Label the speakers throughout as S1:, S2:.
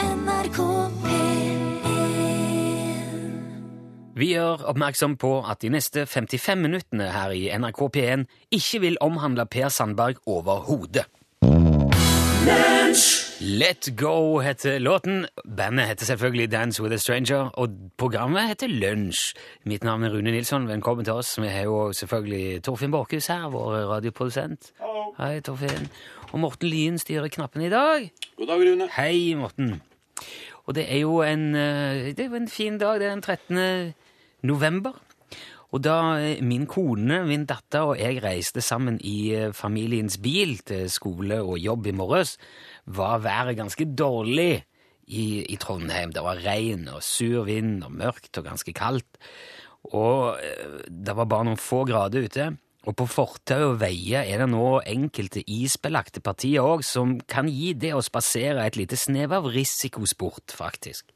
S1: NRK P1
S2: Vi gjør oppmerksom på at de neste 55 minuttene her i NRK P1 ikke vil omhandle Per Sandberg overhodet. Let Go heter låten. Bandet heter selvfølgelig Dance With A Stranger, og programmet heter Lunsj. Mitt navn er Rune Nilsson. Velkommen til oss. Vi har jo selvfølgelig Torfinn Borchhus her, vår radioprodusent. Hei, Torfinn. Og Morten Lien styrer knappene i dag.
S3: God dag, Rune.
S2: Hei, Morten. Og det er jo en, eh, det er jo en fin dag. Det er den 13. november. Og da eh, min kone, min datter og jeg reiste sammen i eh, familiens bil til skole og jobb i morges, var været ganske dårlig i, i Trondheim. Det var regn og sur vind og mørkt og ganske kaldt. Og eh, det var bare noen få grader ute. Og på fortau og veier er det nå enkelte isbelagte partier òg som kan gi det å spasere et lite snev av risikosport, faktisk.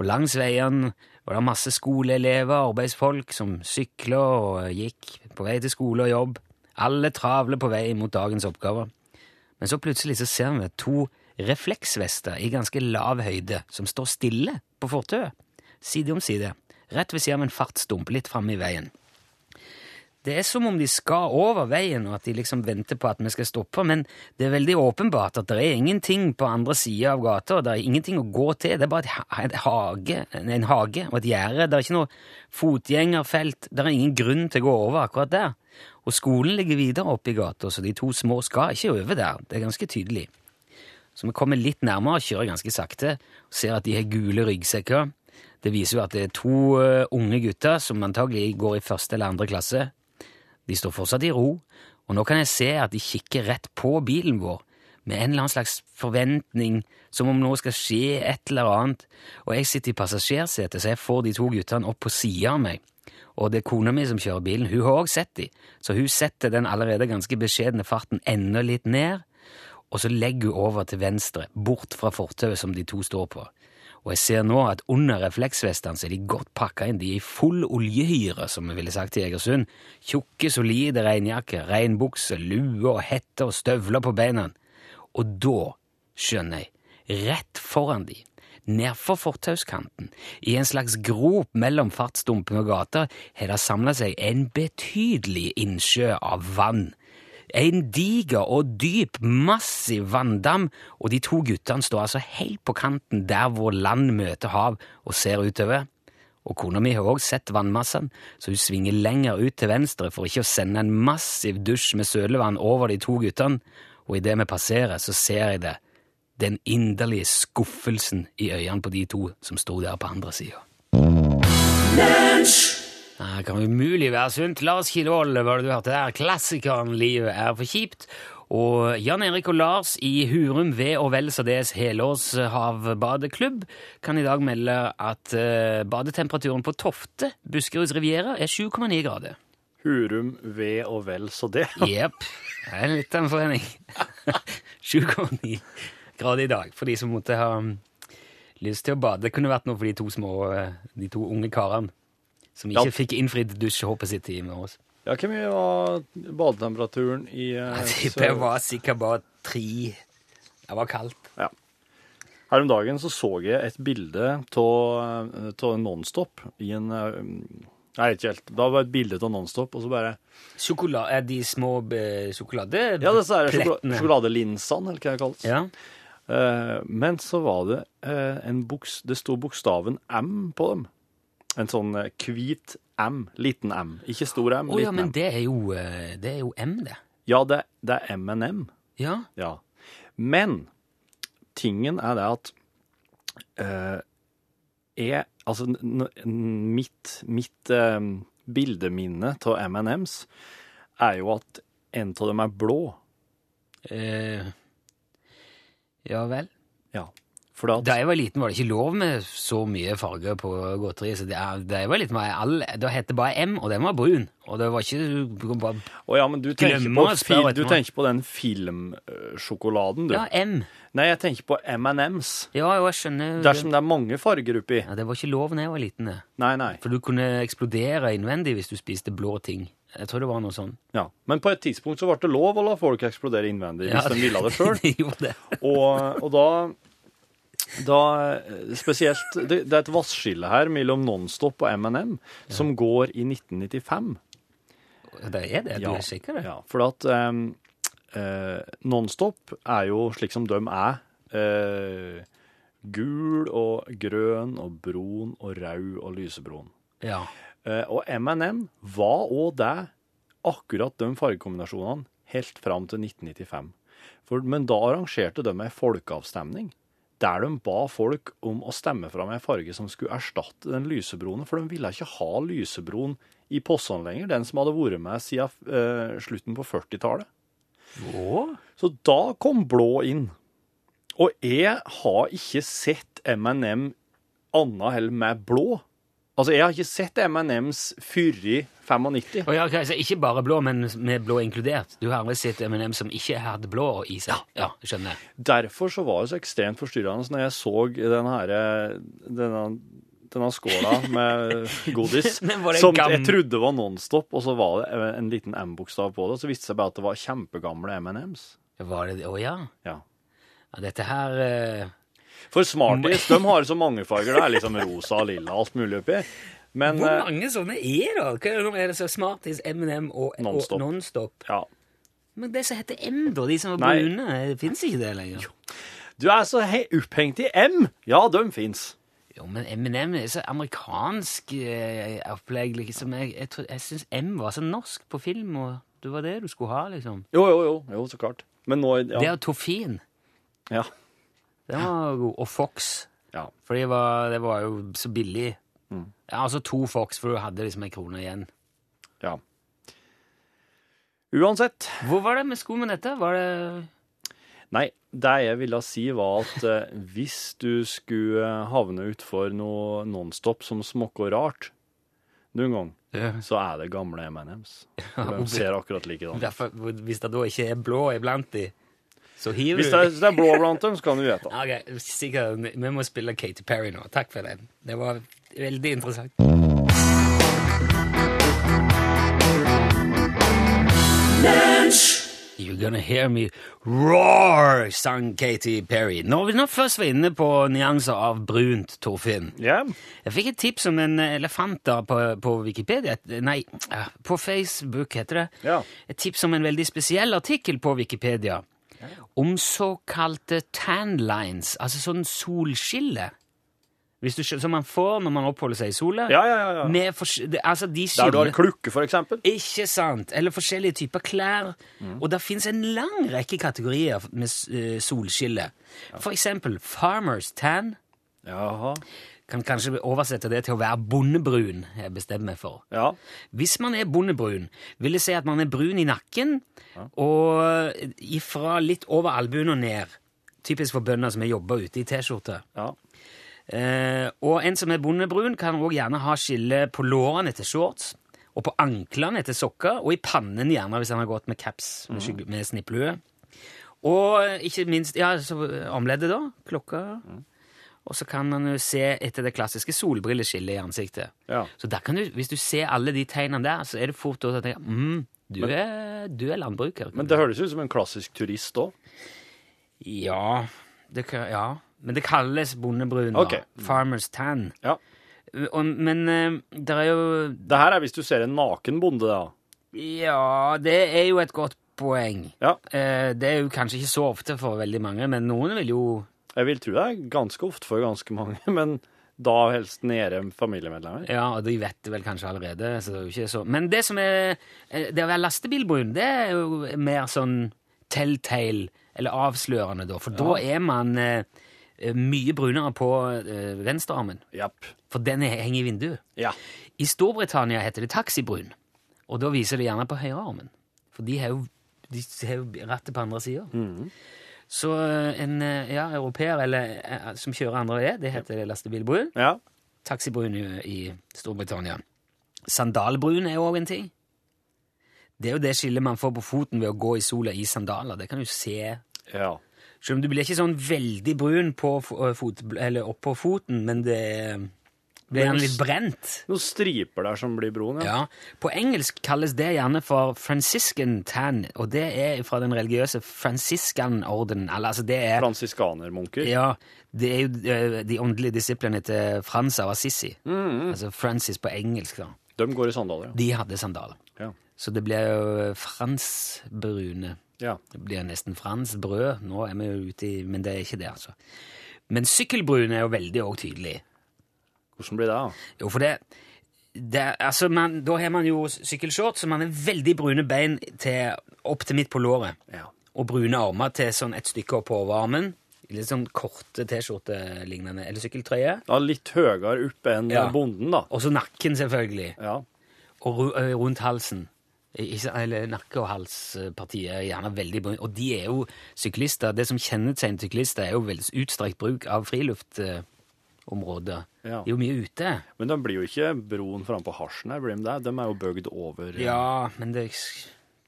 S2: Og langs veien var det masse skoleelever og arbeidsfolk som sykla og gikk på vei til skole og jobb. Alle travle på vei mot dagens oppgaver. Men så plutselig så ser vi to refleksvester i ganske lav høyde som står stille på fortauet, side om side, rett ved siden av en fartsdump litt framme i veien. Det er som om de skal over veien, og at de liksom venter på at vi skal stoppe, men det er veldig åpenbart at det er ingenting på andre sida av gata, og det er ingenting å gå til, det er bare et ha- et hage, en hage og et gjerde, det er ikke noe fotgjengerfelt, det er ingen grunn til å gå over akkurat der. Og skolen ligger videre oppe i gata, så de to små skal ikke over der, det er ganske tydelig. Så vi kommer litt nærmere, kjører ganske sakte, og ser at de har gule ryggsekker. Det viser jo at det er to eh, unge gutter som antagelig går i første eller andre klasse. De står fortsatt i ro, og nå kan jeg se at de kikker rett på bilen vår, med en eller annen slags forventning, som om nå skal skje et eller annet, og jeg sitter i passasjersetet, så jeg får de to guttene opp på sida av meg. Og det er kona mi som kjører bilen, hun har også sett de, så hun setter den allerede ganske beskjedne farten enda litt ned, og så legger hun over til venstre, bort fra fortauet som de to står på. Og jeg ser nå at under refleksvestene så er de godt pakka inn. De er i full oljehyre, som vi ville sagt i Egersund. Tjukke, solide regnjakker, regnbukse, lue og hette og støvler på beina. Og da skjønner jeg, rett foran de, nedfor fortauskanten, i en slags grop mellom fartsdumpene og gata, har det samla seg en betydelig innsjø av vann. En diger og dyp, massiv vanndam, og de to guttene står altså helt på kanten der hvor land møter hav og ser utover. Og kona mi har også sett vannmassen, så hun svinger lenger ut til venstre for ikke å sende en massiv dusj med sølevann over de to guttene, og idet vi passerer, så ser jeg det, den inderlige skuffelsen i øynene på de to som sto der på andre sida. Det kan umulig være sunt. Lars Kilevold var det du hørte der. Klassikeren 'Livet er for kjipt'. Og Jan Erik og Lars i Hurum ved og vel så des helårshavbadeklubb kan i dag melde at eh, badetemperaturen på Tofte, Buskeruds Riviera, er 7,9 grader.
S4: Hurum, ved og vel, så det.
S2: Jepp. Det er litt av en forening. 7,9 grader i dag for de som måtte ha um, lyst til å bade. Det kunne vært noe for de to små, eh, de to unge karene som ikke
S4: Ja.
S2: fikk innfridd dusjehåpet sitt i morges.
S4: Ja, hvor mye var badetemperaturen i eh,
S2: Jeg
S4: Sør-
S2: tipper jeg var sikkert bare tre. Det var kaldt.
S4: Ja. Her om dagen så så jeg et bilde av en Nonstop i en eh, Nei, ikke helt. Da var det et bilde av Nonstop, og så bare
S2: Sjokola er de små eh, sjokoladeplettene.
S4: Ja, disse her sjoko- sjokoladelinsene, eller hva det kalles.
S2: Ja.
S4: Eh, men så var det eh, en boks Det sto bokstaven M på dem. En sånn eh, hvit M. Liten M. Ikke stor M,
S2: Å ja,
S4: liten
S2: men
S4: M.
S2: det er, jo, eh, det er jo M, det.
S4: Ja, det, det er M&M.
S2: Ja.
S4: Ja. Men tingen er det at eh, jeg, altså, n n mitt, mitt eh, bildeminne av M&M's er jo at en av dem er blå.
S2: Eh, ja vel.
S4: Ja. For at,
S2: Da jeg var liten, var det ikke lov med så mye farger på godteri. Så det er, da jeg var liten, var jeg all, da het det bare M, og den var brun. Og det var ikke du kan bare,
S4: Å ja, men du tenker,
S2: Glemmer
S4: på,
S2: å spørre
S4: fil,
S2: etterpå.
S4: du tenker på den filmsjokoladen, du.
S2: Ja, M.
S4: Nei, jeg tenker på M&M's.
S2: Ja, jo, jeg skjønner.
S4: Dersom det er sånn- mange farger oppi.
S2: ja, det var ikke lov da jeg var liten, det.
S4: Nei, nei.
S2: For du kunne eksplodere innvendig hvis du spiste blå ting. Jeg tror det var noe sånn.
S4: Ja. Men på et tidspunkt så ble det lov å la folk eksplodere innvendig hvis de ville det sjøl.
S2: de gjorde det.
S4: Og, og da da eh, spesielt Det, det er et vassskille her mellom Nonstop og M&M som går i 1995.
S2: Det er det, du er sikker? det?
S4: Ja, for at um, eh, Nonstop er jo slik som de er. eh, gul og grønn og brun og rød og lysebrun.
S2: Ja.
S4: Eh, og M&M var òg det, akkurat de fargekombinasjonene, helt fram til 1995. For, men da arrangerte de ei folkeavstemning, der de ba folk om å stemme fram ei farge som skulle erstatte den lysebrune, for de ville ikke ha lysebroen i Posson lenger, den som hadde vært med siden eh, slutten på 40-tallet.
S2: Å?
S4: Så da kom blå inn. Og jeg har ikke sett M&M annet heller med blå. Altså, jeg har ikke sett M&M's før i 95.
S2: Å ja, ok, så ikke bare blå, men med blå inkludert. Du har aldri sett M&M som ikke hadde blå i seg. Ja, skjønner. jeg.
S4: Derfor så var det så ekstremt forstyrrende når jeg så denne, her, denne, denne skåla med godis,
S2: Men var det
S4: som
S2: gam-
S4: jeg trodde var Nonstop, og så var det en liten M-bokstav på det, og så viste det seg bare at det var kjempegamle M&M's.
S2: Var det det? Å ja.
S4: Ja.
S2: ja. Dette her eh,
S4: For Smarties, de har så mange farger, det er liksom rosa og lilla og alt mulig oppi. Men,
S2: Hvor
S4: eh,
S2: mange sånne er det? Hva er det, er det så Smarties, M&M og og
S4: Nonstop.
S2: Nonstop?
S4: ja.
S2: Men det som heter M, da, de som er
S4: Nei.
S2: brune, fins ikke det lenger? Jo,
S4: Du er så he opphengt i M! Ja, de fins.
S2: men M&M er så amerikansk eh, opplegg, liksom. Jeg, jeg, tror- jeg syns M var så norsk på film, og det var det du skulle ha, liksom.
S4: Jo, jo, jo, jo, så klart. Men nå
S2: Det
S4: Ja.
S2: og Toffin,
S4: ja.
S2: den var god. Og Fox.
S4: ja.
S2: For det var, det var jo så billig. Ja, altså to Fox, for du hadde liksom en krone igjen.
S4: ja. Uansett.
S2: Hvor var det vi skulle med dette? Var det
S4: Nei, det jeg ville si, var at eh, hvis du skulle havne utfor noe Nonstop som smokker rart noen gang, så er det gamle M&M's. For De ser akkurat likedan.
S2: Derfor, Hvis det da ikke er blå iblant de, så hiver
S4: Hvis
S2: du
S4: det er, hvis det er blå blant dem, så kan du vite det.
S2: Ok, sikkert. Vi må spille Katy Perry nå. Takk for den. Det var veldig interessant. You're gonna hear me roar, sang Katy Perry. Når vi nå først var inne på nyanser av brunt, Torfinn.
S4: Ja.
S2: Jeg fikk et tips om en elefant da på, på Wikipedia. Et- Nei, eh, på Facebook heter det.
S4: Ja.
S2: Et tips om en veldig spesiell artikkel på Wikipedia. Om såkalte tan lines, altså sånn solskille. Hvis du, skjø- som man får når man oppholder seg i sola.
S4: Ja, ja, ja, ja.
S2: Med fors- det- altså de
S4: Der du har
S2: skiller-
S4: klukke, for eksempel.
S2: ikke sant? Eller forskjellige typer klær.
S4: Mm.
S2: Og det fins en lang rekke kategorier med s- eh, solskille. For eksempel farmers tan.
S4: Jaha.
S2: Kan kanskje oversette det til å være bondebrun, jeg bestemmer meg for.
S4: Ja.
S2: Hvis man er bondebrun, vil det si at man er brun i nakken og ifra litt over albuen og ned. Typisk for bønder som har jobba ute i T-skjorte.
S4: ja.
S2: Eh, og en som er bondebrun, kan òg gjerne ha skille på lårene til shorts, og på anklene til sokker, og i pannen gjerne hvis han har gått med caps
S4: Mm.
S2: med, skygge- med snipplue. Og eh, ikke minst ja, så eh, omleddet, da. Klokka.
S4: Mm.
S2: Og så kan man jo se etter det klassiske solbrilleskillet i ansiktet.
S4: Ja.
S2: Så der kan du, hvis du ser alle de tegnene der, så er det fort å tenke mm, du, er, du er landbruker.
S4: Men det høres ut som en klassisk turist òg.
S2: Ja, det kan, ja. Men det kalles bondebrun.
S4: Ok.
S2: Da. Farmers tan.
S4: Ja.
S2: Og, men det er jo
S4: Det her er hvis du ser en naken bonde, da.
S2: Ja, det er jo et godt poeng.
S4: Ja,
S2: Eh, det er jo kanskje ikke så ofte for veldig mange, men noen vil jo
S4: jeg vil tro det er ganske ofte for ganske mange, men da helst nede med familiemedlemmer.
S2: Ja, og de vet det vel kanskje allerede. Så det er jo ikke så. Men det som er eh, Det å være lastebilbrun, det er jo mer sånn telltale, eller avslørende, da. For da er man eh, mye brunere på eh, venstrearmen.
S4: Japp.
S2: For den er- henger i vinduet.
S4: Ja.
S2: I Storbritannia heter det taxibrun, og da viser det gjerne på høyrearmen. For de har jo, de har jo rattet på andre sida. Så eh, en eh, ja, europeer eller, eh, som kjører andre vei, det heter lastebilbrun.
S4: Ja.
S2: Taxibrun i, i Storbritannia. Sandalbrun er jo òg en ting. Det er jo det skillet man får på foten ved å gå i sola i sandaler. Det kan du se.
S4: ja.
S2: Selv eh, om du blir ikke sånn veldig brun på, fo- fot, eller oppå foten, men det, Ble han litt brent?
S5: Noen striper der som blir broen, ja.
S2: Ja. På engelsk kalles det gjerne for franciscan tan, og det er fra den religiøse fransiskanorden. Eller, Altså, det er
S5: Fransiskanermunker.
S2: ja, det er jo eh, de åndelige disiplene til Frans av Assisi. Altså Francis på engelsk, da.
S5: De går i sandaler,
S2: De hadde sandaler.
S5: ja.
S2: Så det ble jo eh, fransbrune.
S5: ja.
S2: Det blir nesten fransk brød. Nå er vi jo ute i Men det er ikke det, altså. Men sykkelbrun er jo veldig òg tydelig.
S5: Hvordan blir det, da?
S2: Jo, for det, det Altså, man, da har man jo sykkelshorts, så man har veldig brune bein til, opp til midt på låret.
S5: Ja.
S2: Og brune armer til sånn et stykke oppover armen. Litt sånn korte T-skjorte-lignende. Eller sykkeltrøye.
S5: ja litt høyere opp enn
S2: Ja.
S5: bonden, da.
S2: Og så nakken, selvfølgelig.
S5: Ja.
S2: Og ru, ø, rundt halsen. I- ikke- Eller nakke- og halspartiet er gjerne veldig brun. Og de er jo syklister. Det som kjennetegner syklister, er jo veldig utstrakt bruk av friluftområder.
S5: Ja.
S2: De er jo mye ute.
S5: Men de blir jo ikke broen frampå hasjen her, blir de det? De er jo bøgd over eh,
S2: Ja, men det,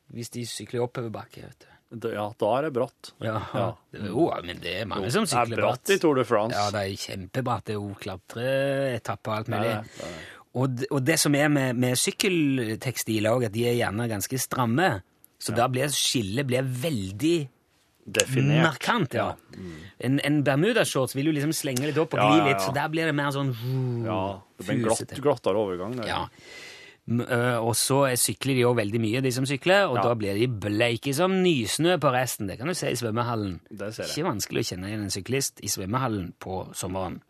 S2: hvis de sykler oppoverbakke, vet du
S5: eh, d- ja, da er det bratt.
S2: Ja,
S5: Ja.
S2: Jo, men det er mange som
S5: Det er
S2: sykler
S5: bratt i Tour de France.
S2: Ja, det er kjempebratt. Det er jo klatreetapper og alt mulig.
S5: det er det, det er
S2: Og, d- og det som er med, med sykkeltekstiler òg, at de er gjerne ganske stramme. Så da blir skillet blir veldig
S5: Definert.
S2: markant. ja. En, en bermudashorts vil jo liksom slenge litt opp og
S5: Ja,
S2: gli
S5: ja,
S2: litt,
S5: ja.
S2: så der blir det mer sånn
S5: Ja, det blir en glatt,
S2: Fusete.
S5: glattere overgang. Der.
S2: Ja. M- ø, Og så er- sykler de òg veldig mye, de som sykler, og
S5: Ja.
S2: da blir de bleike som nysnø på resten. Det kan du se i svømmehallen.
S5: Det ser jeg.
S2: Ikke vanskelig å kjenne igjen en syklist i svømmehallen på sommeren.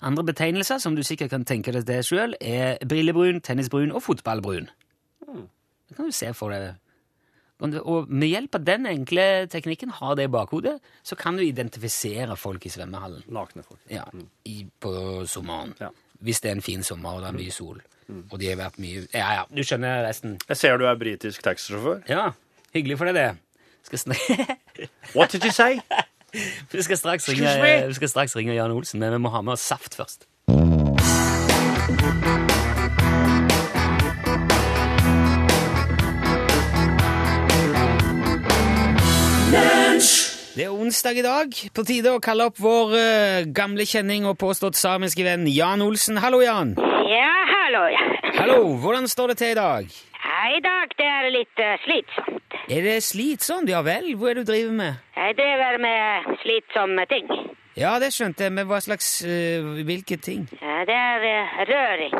S2: Andre betegnelser som du sikkert kan tenke deg det sjøl, er brillebrun, tennisbrun og fotballbrun.
S5: Hmm.
S2: Det kan du se for deg. Og og med hjelp av den enkle teknikken, har det i bakhodet, så kan du identifisere folk i svømmehallen.
S5: Nakne folk.
S2: Ja, i, på sommeren.
S5: Ja.
S2: Hvis det er en fin sommer og det er mye sol. Og de har vært mye Ja, ja, Mm. du skjønner resten.
S5: Jeg ser du er britisk taxisjåfør.
S2: Ja, hyggelig for deg, det. Skal sn-
S5: What did you say?
S2: vi, skal straks ringe,
S5: Excuse me?
S2: vi skal straks ringe Jan Olsen, men vi må ha med oss saft først. Det er onsdag i dag. På tide å kalle opp vår eh, gamle kjenning og påstått samiske venn Jan Olsen. Hallo, Jan.
S6: Ja, hallo, ja.
S2: Hallo, hvordan står det til i dag?
S6: I dag det er litt eh, slitsomt.
S2: Er det slitsomt? Ja vel, hva er det du driver med?
S6: Jeg driver med slitsomme ting.
S2: Ja, det skjønte jeg, men hva slags eh, Hvilke ting?
S6: Eh, Det er eh, røring.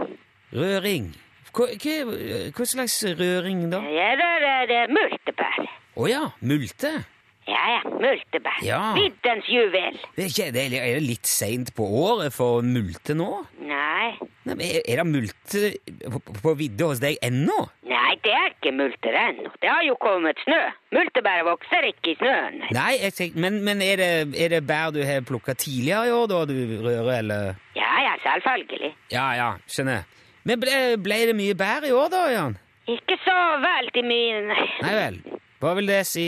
S2: Røring. Hva, hva, hva slags røring, da?
S6: Jeg rører eh, multebær.
S2: Å ja, multe.
S6: Ja, ja, multebær.
S2: Ja.
S6: Viddens juvel.
S2: Det er, ikke, det er- er det litt seint på året for multe nå?
S6: Nei,
S2: Nei, men er, er det multe på, på vidde hos deg ennå?
S6: nei, det er ikke multer ennå. Det har jo kommet snø. Multebær vokser ikke i snøen. nei.
S2: Nei, jeg tenk, men, men er, det, er det bær du har plukka tidligere i år, da du rører, eller?
S6: Ja, ja, selvfølgelig.
S2: Ja ja, skjønner. Men ble, ble det mye bær i år, da, Jan?
S6: Ikke så veldig mye, nei.
S2: Nei vel. Hva vil det si?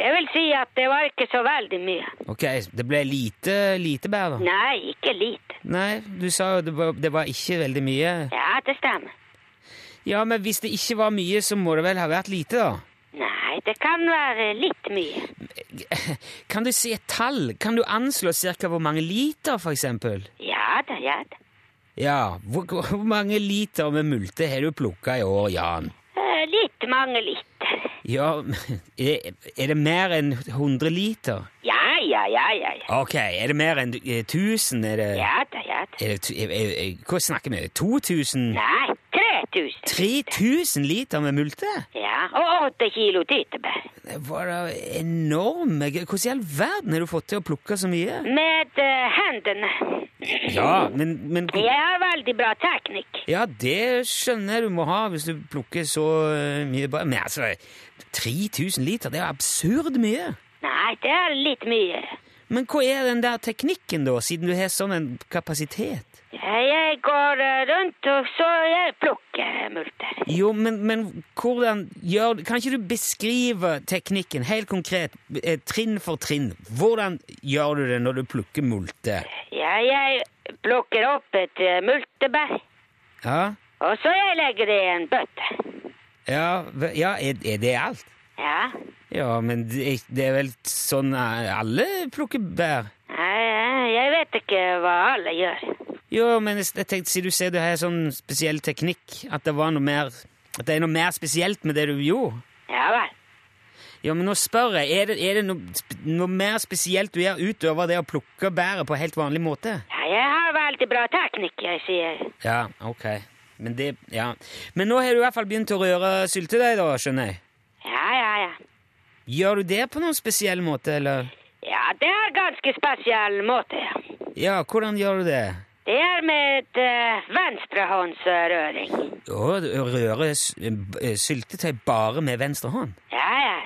S6: Det vil si at det var ikke så veldig mye.
S2: Ok, det ble lite, lite bær, da?
S6: Nei, ikke lite.
S2: Nei, du sa jo det var, det var ikke veldig mye.
S6: Ja, det stemmer.
S2: Ja, men hvis det ikke var mye, så må det vel ha vært lite, da?
S6: Nei, det kan være litt mye.
S2: Kan du si et tall? Kan du anslå cirka hvor mange liter, for eksempel?
S6: Ja da, ja da.
S2: Ja, hvor, hvor mange liter med multe har du plukka i år, Jan?
S6: Eh, Litt mange liter.
S2: Ja, er, er det mer enn 100 liter?
S6: Ja, ja, ja, ja. ja.
S2: Ok, er det mer enn eh, 1000? Er det,
S6: Ja da, ja da.
S2: er det, tu- er, er, er, hva snakker vi? 2000?
S6: Nei, 3000.
S2: 3000 liter med multe?
S6: Ja, og åtte kilo tyttebær.
S2: Det var da enorme g- Hvordan i all verden har du fått til å plukke så mye?
S6: Med eh, hendene.
S2: Ja, men, men
S6: Jeg har veldig bra teknikk.
S2: Ja, det skjønner jeg du må ha hvis du plukker så eh, mye bær. Men altså, 3000 liter, det er jo absurd mye.
S6: Nei, det er litt mye.
S2: Men hva er den der teknikken, da, siden du har sånn en kapasitet?
S6: Jeg går eh, rundt, og så jeg plukker multer.
S2: Jo, men, men hvordan gjør Kan ikke du beskrive teknikken helt konkret, eh, trinn for trinn? Hvordan gjør du det når du plukker multer?
S6: Ja, jeg plukker opp et eh, multebær,
S2: Ja,
S6: og så jeg legger det i en bøtte.
S2: ja, ve- ja er, er det alt?
S6: Ja,
S2: Ja, men det, det er vel sånn eh, alle plukker bær?
S6: Nei, jeg vet ikke hva alle gjør.
S2: Jo, men jeg tenkte, siden du sier du har sånn spesiell teknikk, at det, var noe mer, at det er noe mer spesielt med det du gjorde.
S6: Ja vel.
S2: Ja, men nå spør jeg, er det, er det noe, sp- noe mer spesielt du gjør utover det å plukke bæret på helt vanlig måte?
S6: Ja, jeg har veldig bra teknikk, jeg sier.
S2: Ja, ok. Men det, ja. Men nå har du i hvert fall begynt å røre syltetøy, da, skjønner jeg.
S6: Ja, ja, ja.
S2: Gjør du det på noen spesiell måte, eller?
S6: Ja, det er ganske spesiell måte, ja.
S2: Ja, hvordan gjør du det?
S6: Det er med uh, venstrehåndsrøring.
S2: Å, du rører s- eh, b- syltetøy bare med venstre hånd.
S6: Ja, ja.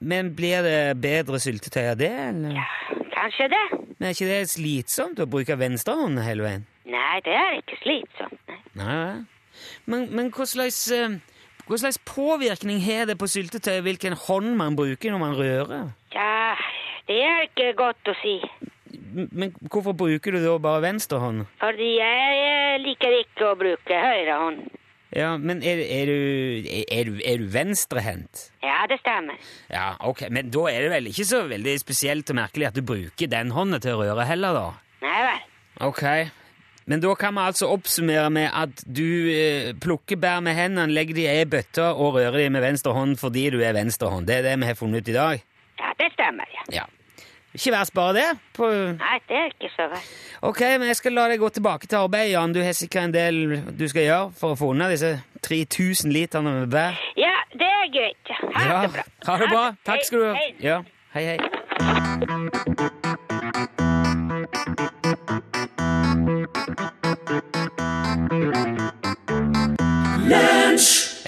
S2: Men blir det bedre syltetøy av det, eller?
S6: ja. Kanskje det?
S2: Men er ikke det slitsomt å bruke venstrehånden hele veien?
S6: Nei, det er ikke slitsomt. nei.
S2: Nei, nei. Men, men hva slags, eh, hva slags påvirkning har det på syltetøyet hvilken hånd man bruker når man rører?
S6: Ja, det er ikke godt å si.
S2: M- Men hvorfor bruker du da bare venstrehånd?
S6: Fordi jeg eh, liker ikke å bruke høyre hånd.
S2: Ja, men er, er du, er, du, er du venstrehendt?
S6: Ja, det stemmer.
S2: Ja, ok, men da er det vel ikke så veldig spesielt og merkelig at du bruker den hånden til å røre heller, da?
S6: Nei vel.
S2: Ok. Men da kan vi altså oppsummere med at du eh, plukker bær med hendene, legger de i ei bøtte og rører de med venstre hånd fordi du er venstrehånd. Det er det vi har funnet ut i dag.
S6: Ja, det stemmer, ja.
S2: Ja. Ikke verst bare det. På...
S6: Nei, det er ikke så verst.
S2: Ok, men jeg skal la deg gå tilbake til arbeid, Jan. Du har sikkert en del du skal gjøre for å få unna disse 3000 literne med bær.
S6: Ja, det er greit. ja. Ha det bra.
S2: Ha det bra. Takk skal du ha.
S6: Hei.
S2: Ja. Hei, hei.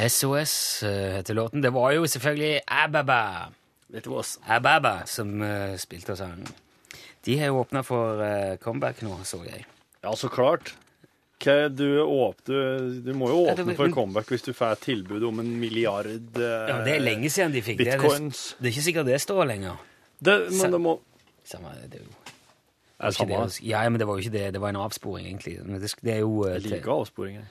S2: SOS eh, heter låten. Det var jo selvfølgelig Ababa.
S5: It was.
S2: Ababa som eh, spilte og sang. De har jo åpna for eh, comeback nå, så jeg.
S5: Ja, så klart. Hva Du, åp, du, du må jo
S2: Ja, det
S5: åpne
S2: var-
S5: for comeback hvis du får tilbud om en milliard eh,
S2: Ja, Det er lenge siden de fikk det.
S5: bitcoins.
S2: Det er ikke sikkert det står lenger.
S5: Det, men det må
S2: Samme, det er jo det
S5: Er
S2: var
S5: det
S2: ikke
S5: samme?
S2: det- Ja, men det var jo ikke det. Det var en avsporing, egentlig. Men det, sk- det er jo eh,
S5: Jeg
S2: til-
S5: liker avsporinger.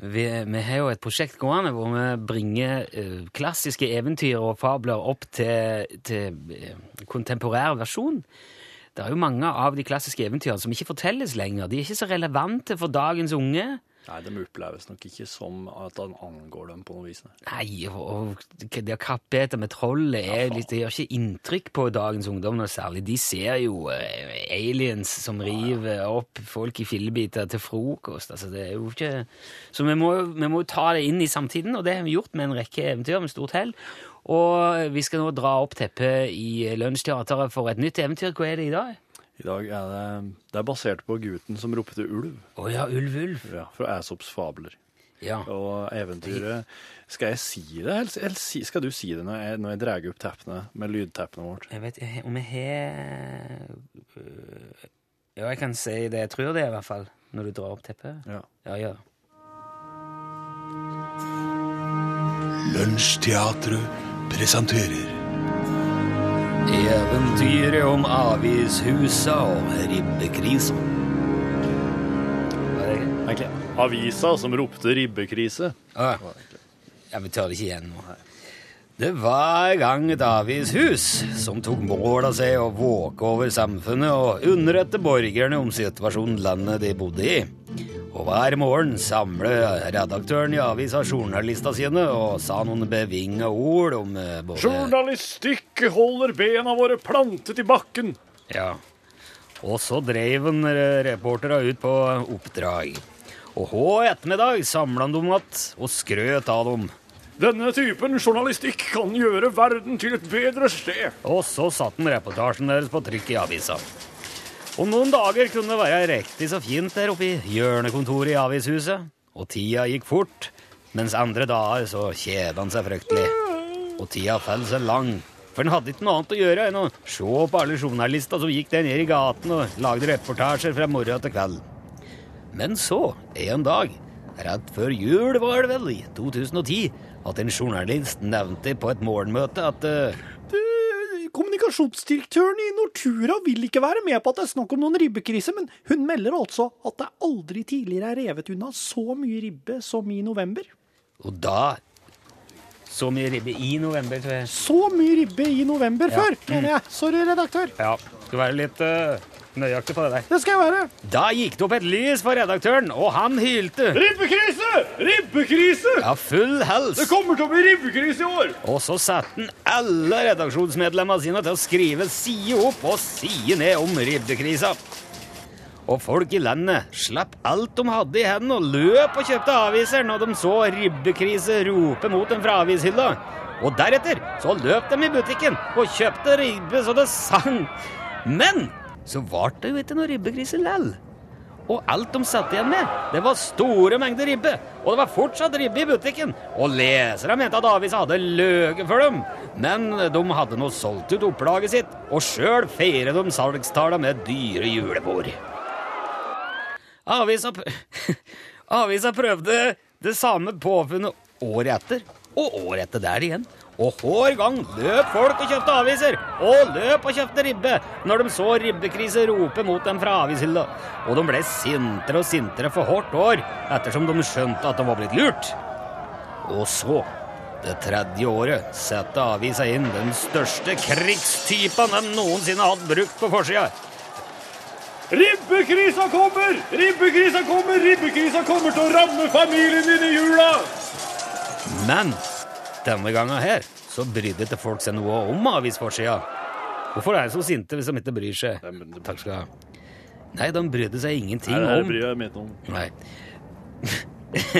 S2: vi, vi har jo et prosjekt gående hvor vi bringer eh, klassiske eventyr og fabler opp til, til eh, kontemporær versjon. Det er jo mange av de klassiske eventyrene som ikke fortelles lenger. De er ikke så relevante for dagens unge.
S5: Nei, de oppleves nok ikke som at han angår dem på noe vis. nei.
S2: Nei, og, og k- det å kappete med trollet er jo litt, det gjør ikke inntrykk på dagens ungdom noe særlig. De ser jo eh, aliens som river opp folk i fillebiter til frokost. Altså, det er jo ikke... Så vi må, jo- vi må jo ta det inn i samtiden, og det har vi gjort med en rekke eventyr med stort hell. Og vi skal nå dra opp teppet i lunsjteateret for et nytt eventyr. Hva er det i dag?
S5: I dag er det, det er basert på gutten som ropte ulv
S2: Å ja, Ulv Ulv.
S5: ja, fra Æsops fabler.
S2: Ja.
S5: Og eventyret Skal jeg si det, eller, eller si- skal du si det når jeg, når jeg drar opp teppene med lydteppene vårt?
S2: Jeg vet ikke om jeg har øh, Ja, jeg kan si det. Jeg tror det, i hvert fall. Når du drar opp teppet.
S5: Ja.
S2: Ja, gjør det.
S7: Lunsjteatret presenterer
S2: Eventyret om avishusa og ribbekrisa.
S5: Egentlig avisa som ropte ribbekrise.
S2: Ja, vi tør det ikke igjen nå. Det var en gang et avishus som tok mål av seg å våke over samfunnet og underrette borgerne om situasjonen landet de bodde i. Og hver morgen samlet redaktøren i avisa journalistene sine og sa noen bevinga ord om eh, både
S5: Journalistikk holder bena våre plantet i bakken.
S2: Ja. Og så dreiv han eh, reportera ut på oppdrag. Og hå ettermiddag samla han dem att og skrøt av dem.
S5: Denne typen journalistikk kan gjøre verden til et bedre sted.
S2: Og så satt han reportasjen deres på trykk i avisa. Om noen dager kunne det være riktig så fint der oppe i hjørnekontoret i avishuset. Og tida gikk fort, mens andre dager så kjeda han seg fryktelig. Og tida fell seg lang, for han hadde ikke noe annet å gjøre enn å se på alle journalister som gikk der nede i gaten og lagde reportasjer fra morgen til kveld. Men så, en dag, rett før jul var det vel, i 2010, at en journalist nevnte på et morgenmøte at eh,
S8: Kommunikasjonsdirektøren i Nortura vil ikke være med på at det er snakk om noen ribbekrise, men hun melder altså at det aldri tidligere er revet unna så mye ribbe som i november.
S2: Og da Så mye ribbe i november, tror jeg.
S8: Så mye ribbe i november
S2: Ja.
S8: før, mener jeg. Sorry, redaktør.
S2: Ja. Skal være litt eh, nøyaktig på det der.
S8: Det skal jeg være.
S2: Da gikk det opp et lys for redaktøren, og han hylte.
S8: Ribbekrise! Ribbekrise!
S2: Ja, full hals.
S8: kommer til å bli ribbekrise i år!
S2: Og så satte han alle redaksjonsmedlemmene sine til å skrive side opp og side ned om ribdekrisa. Og folk i landet slapp alt de hadde i hendene og løp og kjøpte aviser når de så ribbekrise rope mot dem fra avishylla. Og deretter så løp de i butikken og kjøpte ribbe så det sang. Men så var det jo ikke noe ribbekrise lell. Og alt de satt igjen med, det var store mengder ribbe. Og det var fortsatt ribbe i butikken. Og lesere mente at avisa hadde løyet for dem. Men de hadde nå solgt ut opplaget sitt, og sjøl feirer de salgstallene med dyre julebord. Avisa, pr- avisa prøvde det samme påfunnet året etter, og året etter der igjen. Og hver gang løp folk og kjøpte aviser, og løp og kjøpte ribbe, når de så ribbekrise rope mot dem fra avishylla. Og de ble sintere og sintere for hvert år, ettersom de skjønte at de var blitt lurt. Og så, det tredje året, setter avisa inn den største krigstypen de noensinne har hatt brukt på forsida.
S8: Ribbekrisa kommer! Ribbekrisa kommer! Ribbekrisa kommer til å ramme familien din i jula!
S2: Men denne gangen her så brydde ikke folk seg noe om avisforsida. Hvorfor er de så sinte hvis de ikke bryr seg? Takk skal du ha. Nei, de brydde seg ingenting om
S5: jeg meg om.
S2: Nei.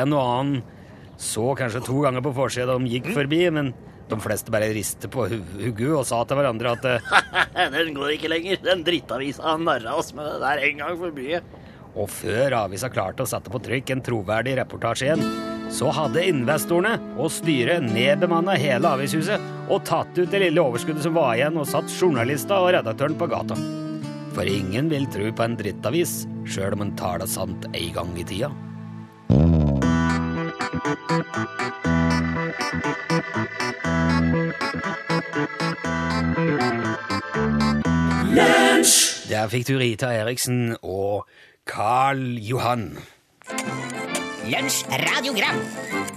S2: en og annen så kanskje to ganger på forsida de
S5: Mm.
S2: gikk forbi, men de fleste bare ristet på hu- hodet og sa til hverandre at eh,
S5: Den går ikke lenger. Den drittavisa narra oss med det der en gang for mye.
S2: Og før avisa klarte å sette på trykk en troverdig reportasje igjen, så hadde investorene og styret nedbemanna hele avishuset og tatt ut det lille overskuddet som var igjen, og satt journalister og redaktøren på gata. For ingen vil tro på en drittavis, sjøl om en taler sant en gang i tida. Der fikk du Rita Eriksen og Carl Johan.
S9: Lunsj radiogram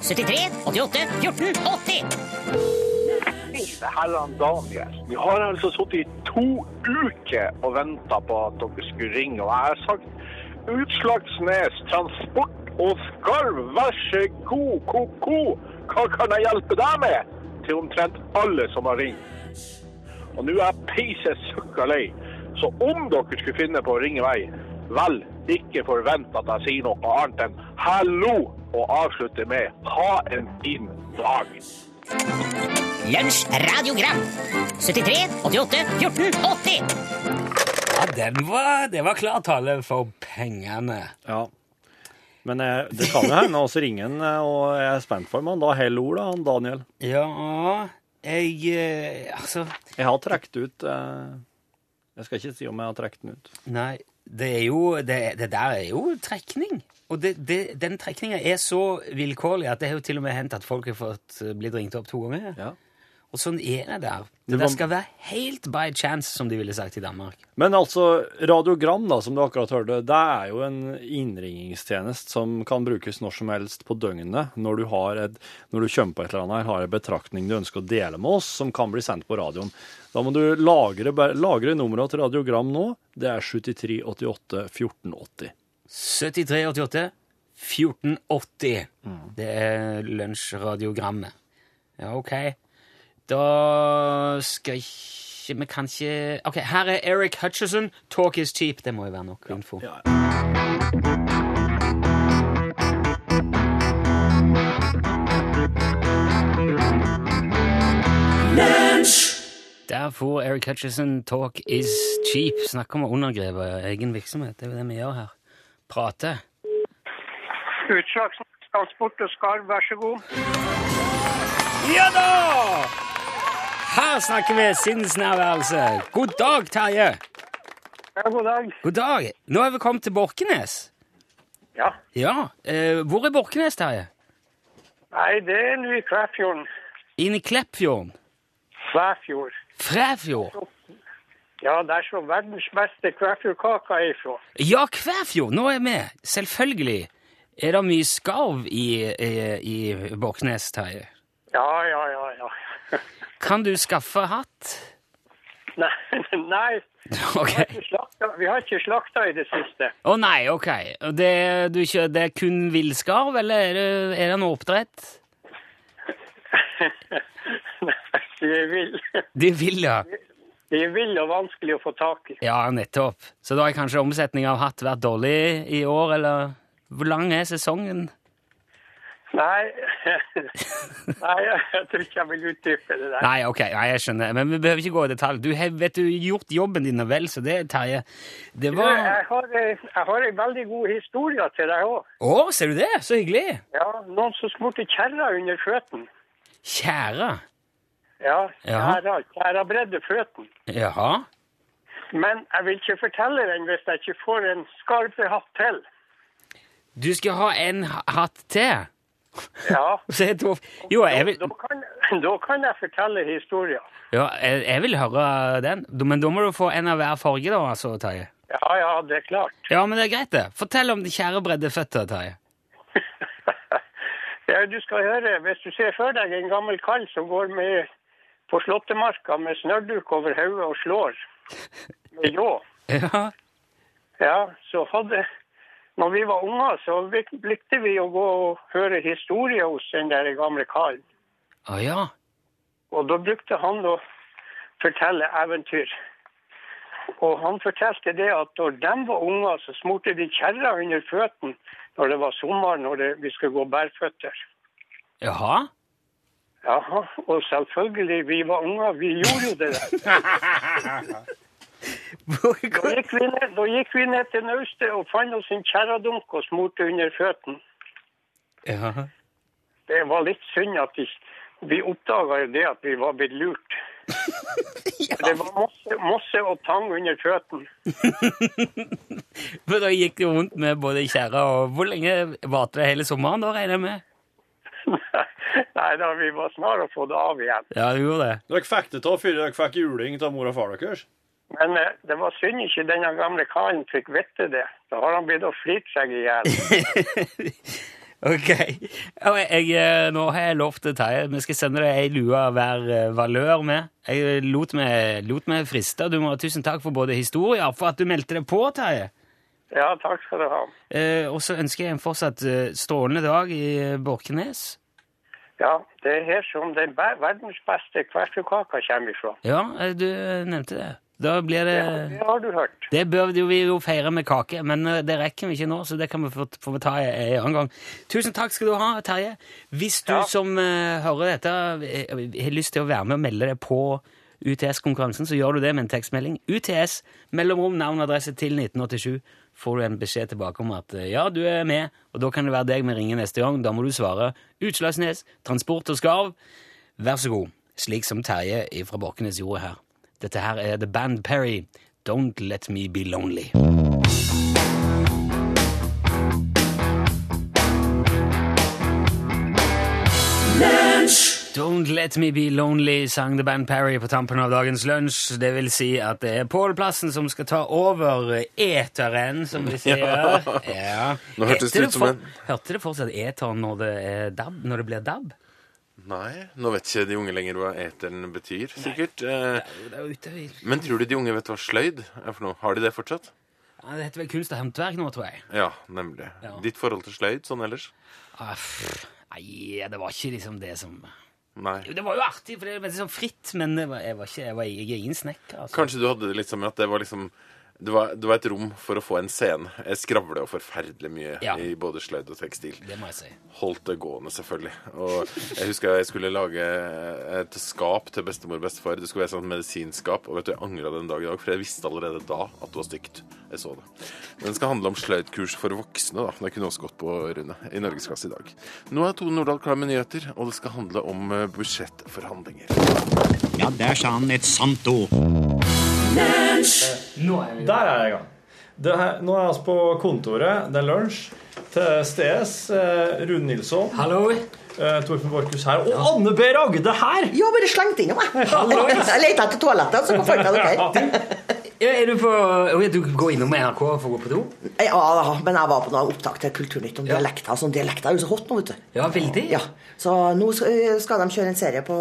S9: 73 88 14 80
S10: Herran Daniel, vi har altså sittet i to uker og venta på at dere skulle ringe. Og jeg har sagt Utslagsnes Transport og Skarv, vær så god, ko-ko, hva kan jeg hjelpe deg med? Til omtrent alle som har ringt. Og nå er jeg peise søkka lei, så om dere skulle finne på å ringe meg, vel, ikke forvent at jeg sier noe annet enn hallo og avslutter med ha en fin dag.
S9: Lunsj radiogram 73 88 14 80
S2: Ja, den var, det var klar tale for pengene.
S5: Ja. Men eh, det kan jo hende også ringe en, eh, og jeg er spent for meg. Da holder ordet, han Daniel.
S2: Ja Jeg eh, Altså
S5: Jeg har trukket ut eh, Jeg skal ikke si om jeg har trukket den ut.
S2: Nei, det er jo Det, det der er jo trekning. Og det, det, den trekninga er så vilkårlig at det har jo til og med hendt at folk har fått eh, blitt ringt opp to ganger.
S5: Ja.
S2: Og sånn er det der.
S5: Det
S2: Det
S5: var-
S2: der skal være helt by chance, som de ville sagt i Danmark.
S5: Men altså, radiogram, da, som du akkurat hørte, det er jo en innringingstjeneste som kan brukes når som helst på døgnet. Når du, har et, når du kommer på et eller annet, her, har en betraktning du ønsker å dele med oss, som kan bli sendt på radioen. Da må du lagre, bare- lagre nummeret til radiogram nå. Det er 73 88 1480.
S2: 7388 1480. Det er lunsjradiogrammet. Ja, OK. Da skal ikke Vi kan ikke OK, her er Eric Hutchison. 'Talk is cheap'. Det må jo være nok info. Der får Eric Hutchison 'Talk is cheap'. Snakk om å undergrave egen virksomhet. Det er jo det vi gjør her. Prate.
S11: Utslagsnes Transport og Skarv, vær så god.
S2: Ja da! Her snakker vi sinnsnærværelse. God dag, Terje.
S11: Ja, god dag.
S2: God dag. Nå er vi kommet til Borkenes.
S11: Ja.
S2: Ja, eh, hvor er Borkenes, Terje?
S11: Nei, det er nå i Kvæfjorden.
S2: Inne i Kleppfjorden.
S11: Kvæfjord.
S2: Fræfjord.
S11: Ja, der så verdens beste kvæfjordkaka er ifra.
S2: Ja, Kvæfjord! Nå er jeg med. Selvfølgelig. Er det mye skarv i, i, i Borknes, Terje?
S11: Ja, ja, ja, ja.
S2: Kan du skaffe hatt?
S11: Nei, nei
S2: Ok.
S11: vi har ikke slakta- vi har ikke slakta i det siste.
S2: Å nei, ok. Og Det, du, kjø- det er kun villskarv, eller er det, er det noe oppdrett?
S11: Nei, de er ville.
S2: De vil, ja.
S11: De er ville og vanskelig å få tak i.
S2: Ja, nettopp. Så da har kanskje omsetningen av hatt vært dårlig i år, eller hvor lang er sesongen?
S11: Nei, nei jeg tror ikke jeg vil utdype det der.
S2: Nei, ok, nei, jeg skjønner. Men vi behøver ikke gå i detalj. Du har vet du, gjort jobben din og vel, så det, Terje Det
S11: Du,
S2: var
S11: Jeg har, eh, jeg har en veldig god historie til deg òg.
S2: Å, ser du det? Så hyggelig!
S11: Ja, noen som smurte kjerra under føttene.
S2: Kjære.
S11: Ja,
S2: Ja.
S11: kjerra, kjerra bredde føttene.
S2: Jaha.
S11: Men jeg vil ikke fortelle den hvis jeg ikke får en skarvehatt til.
S2: Du skal ha en ha- hatt til?
S11: Ja,
S2: Så jeg tror Jo, jeg vil
S11: da kan, da kan jeg fortelle historien.
S2: Ja, jeg, jeg vil høre den. Du- Men da må du få en av hver farge, da, altså, Terje.
S11: Ja, ja, det er klart.
S2: Ja, men det er greit, det. Fortell om de kjære bredde føtter, Terje.
S11: Ja, du skal høre, hvis du ser for deg en gammel kall som går med på slåttemarka med snørduk over hodet og slår med ljå,
S2: Ja.
S11: ja, så hadde Når vi var unger, så vik- likte vi å gå og høre historier hos den der gamle kallen.
S2: Å ja.
S11: Og da brukte han å fortelle eventyr. Og han fortalte det at når de var unger, så smurte de kjerra under føttene når det var sommer, når det, vi skulle gå bærføtter.
S2: Jaha.
S11: Jaha, og selvfølgelig, vi var unger, vi gjorde jo det der. Da
S2: Hvor-
S11: gikk vi ned, da gikk vi ned til naustet og fant oss en kjerradunk og smurte under føttene.
S2: ja.
S11: Det var litt synd at de, vi oppdaga jo det at vi var blitt lurt. Det var mosse, mosse og tang under føttene.
S2: Men da gikk du rundt med både kjære og Hvor lenge varte det hele sommeren, da, regner jeg med?
S11: Nei da, vi var snart å få det av igjen.
S2: Ja, du gjorde det.
S4: Dere fikk det til før dere fikk juling av mor og far deres.
S11: Men eh, det var synd ikke denne gamle karen fikk vite det. Da har han blitt å flirte seg i hjel.
S2: Ok. Ja, men Jeg, eh, nå har jeg lovt det, Terje. Vi skal sende deg ei lue hver eh, valør med. Jeg eh, lot meg, lot meg friste. Du må ha tusen takk for både historier, for at du meldte deg på, Terje.
S11: Ja, takk skal du ha.
S2: Eh, og så ønsker jeg en fortsatt eh, strålende dag i eh, Borkenes.
S11: Ja, det er her som den be- verdens beste kvertkaka kommer ifra.
S2: Ja, eh, du nevnte det. Da blir det
S11: Det har du hørt.
S2: Det bør jo vi jo feire med kake, men eh, det rekker vi ikke nå, så det kan vi få, få ta en en annen gang. Tusen takk skal du ha, Terje. Hvis du
S11: Ja.
S2: som eh, hører dette eh, har lyst til å være med og melde deg på UTS-konkurransen, så gjør du det med en tekstmelding. UTS, mellomrom, navn og adresse til 1987. Får du en beskjed tilbake om at eh, ja, du er med, og da kan det være deg vi ringer neste gang. Da må du svare Utslagsnes, Transport og Skarv. Vær så god, slik som Terje fra Borkenes gjorde her. Dette her er The Band Perry, Don't Let Me Be Lonely. Don't Let Me Be Lonely sang The Band Perry på tampen av dagens lunsj. Det vil si at det er Pål Plassen som skal ta over eteren, som vi sier. Ja.
S12: Nå hørtes det
S2: Heter
S12: ut som
S2: for-
S12: en-
S2: Hørte det fortsatt eter når det, er dab, når det blir dab?
S12: Nei, nå vet ikke de unge lenger hva eteren betyr, sikkert. Eh,
S2: Det er jo ute i
S12: Men tror du de unge vet hva sløyd er for noe? Har de det fortsatt?
S2: Ja, Det heter vel kunst og håndverk nå, tror jeg.
S12: Ja, nemlig.
S2: Ja.
S12: Ditt forhold til sløyd sånn ellers?
S2: Ah, pff, Nei, det var ikke liksom det som Jo,
S12: Nei.
S2: det var jo artig, for det var sånn fritt, men det var, jeg var ikke jeg, var, jeg er ingen snekker. Altså.
S12: Kanskje du hadde det litt som at det var liksom det var, det var et rom for å få en scene. Jeg skravla jo forferdelig mye
S2: Ja.
S12: i både sløyd og tekstil.
S2: Det må jeg si.
S12: Holdt det gående, selvfølgelig. Og jeg husker jeg skulle lage eh, et skap til bestemor og bestefar. Det skulle være et sånt medisinskap. Og vet du, jeg angra den dag i dag, for jeg visste allerede da at det var stygt. Jeg så det. Den skal handle om sløydkurs for voksne, da. Det kunne også gått på Rune i Norgesklasse i dag. Nå er Tone Nordahl klar med nyheter, og det skal handle om eh, budsjettforhandlinger.
S13: Ja, der sa han et sant ord.
S4: Der er jeg i gang. Det her, nå er jeg altså på kontoret. Det er lunsj. Til Stes, eh, Rune Nilsson,
S2: Hallo?
S4: eh, Torfinn Borchhus her, og Anne B. Ragde her!
S14: Ja, bare slengt innom, jeg. Jeg leita etter toalettet, så fant jeg dere.
S2: Ja, er du på Å, ja, Du går innom NRK for å gå på do?
S1: Ja, da, men jeg var på noen opptak til Kulturnytt om dialekter. Sånn dialekter er jo så hot nå, vet du.
S2: Ja, veldig.
S1: Ja. Så nå skal skal de kjøre en serie på,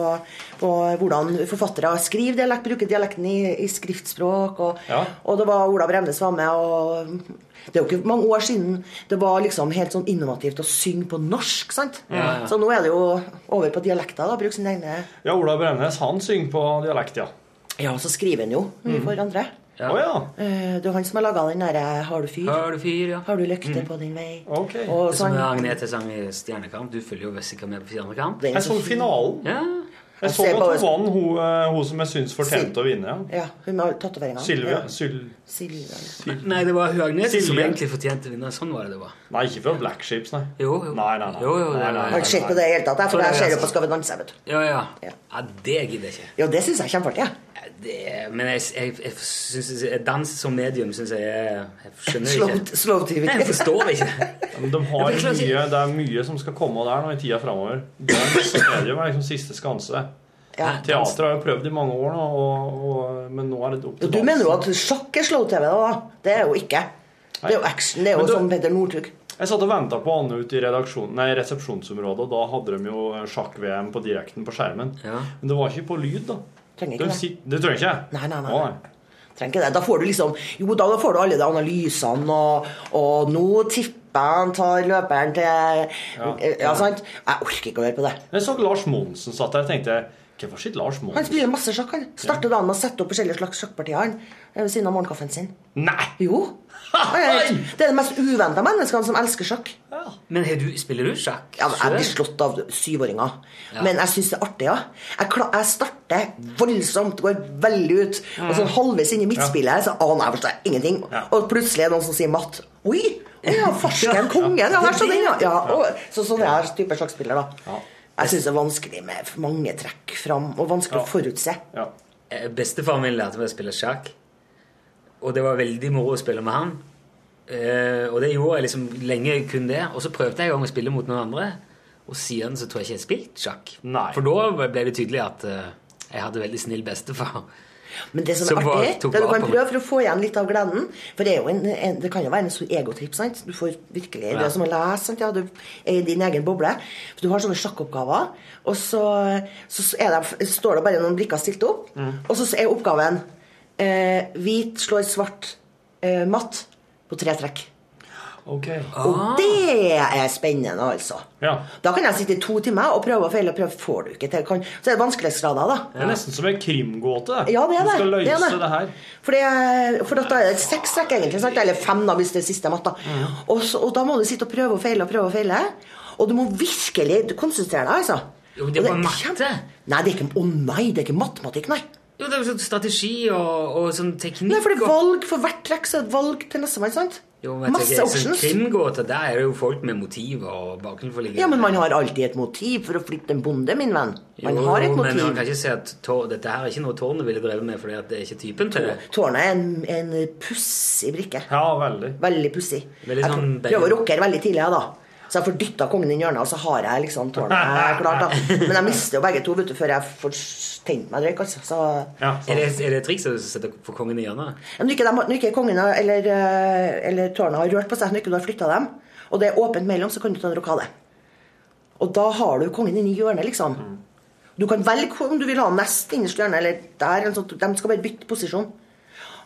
S1: på hvordan forfattere skriver dialekt, bruker dialekten i, i skriftspråk. Og,
S11: Ja.
S1: og det var Ola Bremnes var med, og det er jo ikke mange år siden det var liksom helt sånn innovativt å synge på norsk. sant?
S4: Ja, ja.
S1: Så nå er det jo over på dialekter. da, Bruk sine egne
S4: Ja, Ola Bremnes, han synger på dialekt, ja.
S1: Ja, og så skriver han jo mye for andre.
S4: Ja. Å, ja.
S1: Eh, Det er han som har laga den derre 'Har du fyr'?
S2: Har du fyr, ja.
S1: Har du lykter
S2: Mm.
S1: på din vei?
S2: det
S1: Og
S2: er som
S1: sånn-
S2: Agnete sang i Stjernekamp. Du følger jo sikkert med på Stjernekamp.
S1: Det er Jeg så så fin. finalen.
S2: Ja.
S4: Jeg så
S1: ser
S4: at
S1: bare-
S4: hun vant, hun, eh, hun som jeg syns fortjente å vinne. ja.
S1: Ja, hun med alle tatoveringene.
S4: Sylvia.
S1: Ja.
S4: Syl...
S1: Silvia.
S2: Nei, det var hun Agnete som
S4: Silje.
S2: egentlig fortjente å vinne. Sånn var det det var.
S4: Nei, ikke fra Black Ships, nei.
S2: Jo, jo.
S4: Nei, nei, nei.
S2: Jo, jo, det-
S4: nei, nei, nei,
S1: Har ikke sett på det i det hele tatt. jeg, For
S2: Sånn
S1: jeg
S2: er det,
S1: ser jo
S2: altså.
S1: på Skal vi danse. vet du.
S2: Ja, ja. ja det gidder jeg ikke.
S1: Jo, det syns jeg er kjempeartig.
S2: Det, men jeg, jeg, jeg synes, dans som medium syns jeg er- Jeg skjønner det
S1: Slow-
S2: ikke.
S1: slow TV.
S2: Nei, Jeg forstår det ikke.
S4: Men De har
S2: Jeg forstår
S4: mye, det er mye som skal komme der nå i tida framover. Medium er liksom siste skanse.
S1: Ja.
S4: Teatret har jo prøvd i mange år nå, og, og, men nå er det opp
S1: Og
S4: til
S1: Du mener jo at sjakk er slow-TV, da? Det er jo ikke. Det er jo action. Det er jo
S4: Men du-
S1: som Petter Northug.
S4: Jeg satt og venta på Anne ute i redaksjon- nei, resepsjonsområdet, og da hadde de jo sjakk-VM på direkten på skjermen. Men det var ikke på lyd, da.
S1: Trenger ikke
S4: De
S1: det.
S4: sit- det trenger ikke jeg.
S1: Nei, nei, nei.
S4: Å,
S1: Trenger ikke det. Da får du liksom Jo da, da får du alle de analysene, og, og nå tipper han tar løperen til ja. sant? Jeg orker ikke å høre på det.
S4: Jeg så Lars Monsen satt der og tenkte Hvorfor sitter Lars
S1: Han
S4: Monsen
S1: spiller masse sjakk, han. Starter dagen med å sette opp forskjellige slags sjakkpartier han, eh, ved siden av morgenkaffen sin.
S4: Nei!
S1: Jo. Det er det er de mest uventa menneskene som elsker sjakk.
S2: Men har du, spiller du sjakk?
S1: Ja, men jeg blir
S2: selv?
S1: slått av syvåringer.
S2: Ja.
S1: Men jeg syns det er artig, ja. Jeg, kla- jeg starter voldsomt, går veldig ut. Og sånn halvveis inn i midtspillet så aner jeg forstår jeg ingenting. Og plutselig er det noen som sier matt. Oi! Å ja, farsken, kongen! Ja, der så den, ja. ja og, så sånn er jeg type sjakkspiller, da. Jeg syns det er vanskelig med mange trekk fram, og vanskelig å forutse.
S2: Eh, Bestefaren min lærte meg å spille sjakk. Og det var veldig moro å spille med han. Eh, og det gjorde jeg liksom lenge kun det. Og så prøvde jeg en gang å spille mot noen andre. Og siden så tror jeg ikke jeg har spilt sjakk. For da ble det tydelig at eh, jeg hadde veldig snill bestefar.
S1: Men det som er
S2: var-
S1: artig,
S2: tok
S1: det du
S2: vare
S1: kan
S2: på meg.
S1: prøve for å få igjen litt av gleden For det, er jo en, en, det kan jo være en stor egotripp. sant? Du får virkelig
S2: Ja.
S1: det er som å lese. sant? Ja, du er i din egen boble. For du har sånne sjakkoppgaver, og så, så er det, står det bare noen brikker stilt opp.
S2: Mm.
S1: Og så er oppgaven eh, hvit slår svart eh, matt på tre trekk.
S4: Ok.
S1: Og
S2: Ah.
S1: det er spennende, altså.
S4: Ja.
S1: Da kan jeg sitte i to timer og prøve og feile. og prøve, får du ikke til. Kan, så er det vanskelighetsgrader, da.
S4: Det er nesten som en krimgåte.
S1: Ja, det er
S4: Du skal
S1: det.
S4: løse
S1: Det er
S4: det,
S1: det.
S4: her.
S1: For, det, for da er det seks trekk, egentlig. Sant? Eller fem, da, hvis det er siste matta. Og, så, og da må du sitte og prøve og feile og prøve og feile. Og du må virkelig du konsentrere deg, altså.
S2: Jo, det
S1: Og
S2: var
S1: kjem- Nei, det er ikke, å nei, det er ikke matematikk, nei.
S2: Jo, det er jo sånn strategi og, og sånn teknikk.
S1: Nei, for det er valg for hvert trekk, så er det valg til nestemann, sant?
S2: Jo, men jeg
S1: Masse
S2: tenker, sånn
S1: options.
S2: Krimgåter, der er det jo folk med motiver og bakenforliggende
S1: Ja, men man har alltid et motiv for å flytte en bonde, min venn. Man
S2: Jo,
S1: har et
S2: Men man kan
S1: motiv.
S2: ikke si at tå- dette her er ikke noe tårnet ville drevet med, fordi at det er ikke typen til det.
S1: Tårnet er en, en pussig brikke.
S4: Ja, veldig.
S1: Veldig pussig.
S2: Veldig
S1: Jeg
S2: sånn-
S1: prøver å rockere veldig tidlig, jeg, da. Så jeg får dytta kongen inn i hjørnet, og så har jeg liksom tårnet klart. da Men jeg mister jo begge to vet du, før jeg får tent meg røyk. Altså. Så...
S2: er, det, er det triks å sette for kongen i hjørnet?
S1: Ja, Når ikke, de, når ikke kongen har- eller, eh, eller tårnet har rørt på seg, når ikke du har flytta dem, og det er åpent mellom, så kan du ta en rokade. Og da har du kongen inni hjørnet, liksom.
S2: Mm.
S1: Du kan velge om du vil ha ham nest innerst i hjørnet, eller der. Eller sånt. De skal bare bytte posisjon.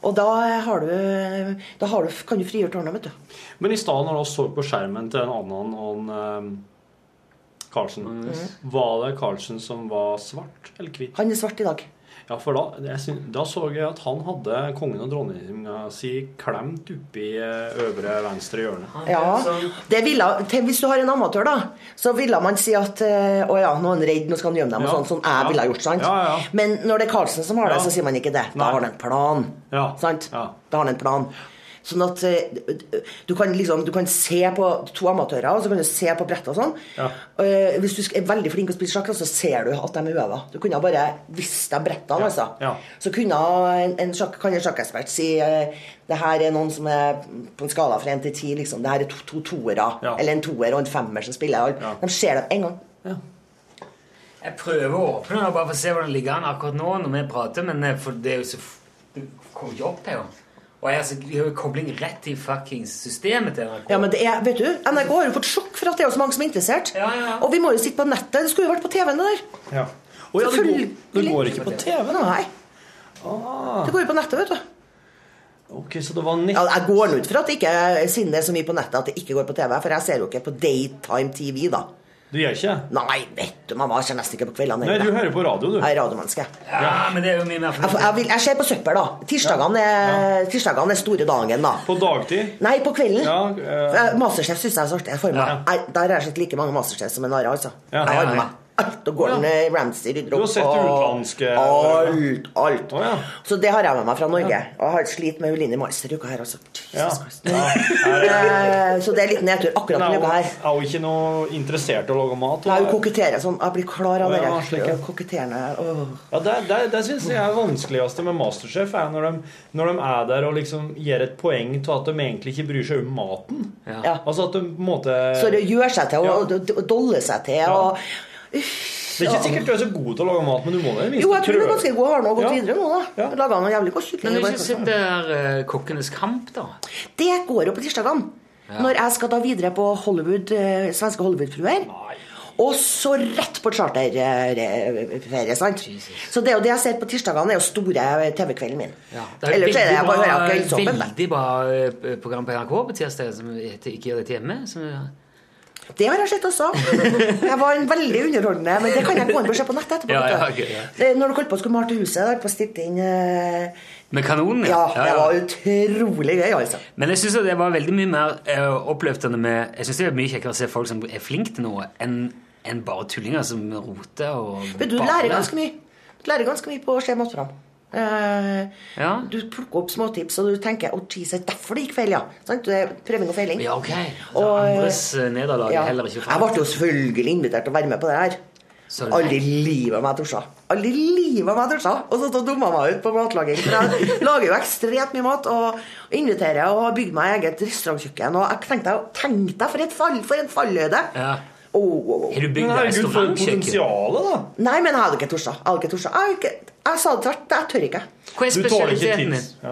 S1: Og da, har du, da har du, kan du frigjøre tårnet, vet du.
S4: Men i stedet når vi så på skjermen til en annen han eh, Carlsen,
S2: Mm.
S4: var det Carlsen som var svart eller hvit?
S1: Han er svart i dag.
S4: Ja, for da, jeg syn- da så jeg at han hadde kongen og dronninga si klemt oppi eh, øvre venstre hjørne.
S1: Ja, det ville, tenk, Hvis du har en amatør, da, så ville man si at eh, å ja, nå er han redd, nå skal han gjemme dem. og sånn, sånn jeg ville ha gjort, sant? Men når det er Karlsen som har det, så sier man ikke det. Da har han en plan. Sant? Da har han en plan. Sånn at eh, du kan liksom, du kan se på to amatører, og så kan du se på brettet og sånn. Eh, hvis du er veldig flink til å spille sjakk, da, så ser du at de er øva. Du kunne bare visst deg brettene, altså. Så kunne en, en sjakk, kan en sjakkekspert si eh, det her er noen som er på en skala fra én til ti, liksom. Det her er to, to toere. Eller en toer og en femmer som spiller. De ser dem en gang.
S2: Jeg prøver å åpne den og bare for å se hvordan det ligger an akkurat nå når vi prater, men eh, for det er jo så f-
S14: Du kom ikke opp her. Og jeg, altså, vi har jo kobling rett til fuckings systemet til NRK.
S1: Ja, men det er, vet du, NRK har jo fått sjokk for at det er jo så mange som er interessert. Og vi må jo sitte på nettet. Det skulle jo vært på TV-en, det der.
S4: Ja. Å ja, det går, det går ikke på TV?
S1: Nei.
S4: Ah,
S1: Det går jo på nettet, vet du.
S4: ok, så det var nett...
S1: Ja, jeg går nå ut fra at det ikke siden det er så mye på nettet at det ikke går på TV, for jeg ser jo ikke på daytime TV, da.
S4: Du gjør ikke?
S1: Nei, vet du, mamma jeg ser nesten ikke på kveldene.
S4: Nei,
S1: heller.
S4: du hører på radio, du.
S1: Jeg er radiomenneske.
S14: Ja, men det er jo mye mer
S1: Jeg, får- jeg, vil, jeg ser på søppel, da. Tirsdagene er, tirsdagene er store dagen, da.
S4: På dagtid?
S1: Nei, på kvelden.
S4: Ja,
S1: Eh, Masterchef syns jeg er så artig. Jeg får med meg- Nei, Der har jeg sett like mange Masterchef som en are, altså.
S4: Ja.
S1: Jeg har
S4: Ja,
S1: med
S4: ja.
S1: meg alt. Og Gordon eh, Ramsay rydder
S4: Du har
S1: opp,
S4: sett det
S1: og-
S4: utenlandske
S1: Alt, alt. Så det har jeg med meg fra Norge. Og jeg har slitt med Line Meister uka her, altså.
S4: Ja.
S1: Eh, Så det er litt nedtur akkurat
S4: Nei,
S1: denne
S4: hun
S1: uka
S4: er
S1: her.
S4: jo ikke noe interessert i å lage mat.
S1: Nei, hun
S4: hun.
S1: koketterer sånn. Jeg blir klar av
S4: Å,
S1: det
S4: ja,
S1: der.
S4: slik, ja.
S1: Koketterende. Åh.
S4: Ja, Det, det, det syns jeg er vanskeligste med Masterchef, er når de, når de er der og liksom gir et poeng til at de egentlig ikke bryr seg om maten. Altså at de på en måte
S1: Så det gjør seg til, og d- d- doller seg til. Og...
S4: Det er ikke sikkert du er så god til å lage mat, men du må det.
S1: Jo, jeg tror du er ganske god. Har nå gått videre nå, da. Laget noe jævlig godt
S14: Men du
S1: kylling.
S14: har
S1: bare
S14: ikke
S1: for
S14: sett
S1: sånn.
S14: det der eh, Kokkenes kamp, da?
S1: Det går jo på tirsdagene.
S14: Ja.
S1: Når jeg skal da videre på Hollywood, eh, svenske Hollywood-fruer. Og så rett på charterferie, sant? Så det er jo det jeg ser på tirsdagene, er jo store TV-kvelden min.
S14: Det er
S1: Ellers er det jeg bare hører
S14: veldig bra,
S1: Kveldsåpen.
S14: veldig bra eh, program på NRK på tirsdag som heter Ikke gjør dette hjemme. Som,
S1: Det har jeg sett også. Jeg var en veldig underholdende, men det kan jeg gå inn og se på nettet etterpå.
S14: Ja, ja,
S1: vet du.
S14: ok, ja.
S1: Det- Når du holdt på å skulle male til huset, der på stilte inn eh,
S14: Med kanonen,
S1: Ja, det var utrolig gøy, altså.
S14: Men jeg synes at det var veldig mye mer eh, oppløftende med Jeg synes det er mye kjekkere å se folk som er flinke til noe, enn enn bare tullinger som roter og
S1: Men du lærer ganske mye. Du lærer ganske mye på å se matprogram. Eh,
S14: Ja.
S1: Du plukker opp småtips, og du tenker 'Å, Jesus, derfor det gikk feil', ja. Sant? Det er prøving og feiling.
S14: Ja, ok. Så
S1: Og, eh,
S14: andres eh, nederlag er
S1: ja.
S14: heller ikke
S1: Jeg ble jo selvfølgelig invitert til å være med på det her.
S14: Så-
S1: Aldri i livet om jeg dusja. Aldri i livet om jeg dusja! Og så dumma jeg meg ut på matlaging. For jeg lager jo ekstremt mye mat og inviterer og har bygd meg eget restaurantkjøkken. Og jeg tenkte, tenk deg for, et fall, for en fallhøyde! Å, å, å.
S14: Har du bygd
S4: Men herregud, for et
S14: restaurantkjøkken?
S4: potensial, da!
S1: Nei, men jeg hadde ikke torsa. Jeg, hadde ikke torsa. jeg, hadde ikke, jeg sa det tvert. Jeg tør ikke.
S14: Hva er Du tåler ikke spesialiteten tips. din?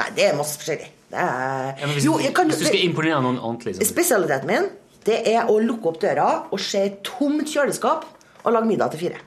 S1: Nei, det er masse forskjellig. Det er...
S14: Ja, men hvis,
S1: Jo, jeg kan-
S14: hvis du skal imponere noen ordentlig så-
S1: Spesialiteten min det er å lukke opp døra og se et tomt kjøleskap og lage middag til fire.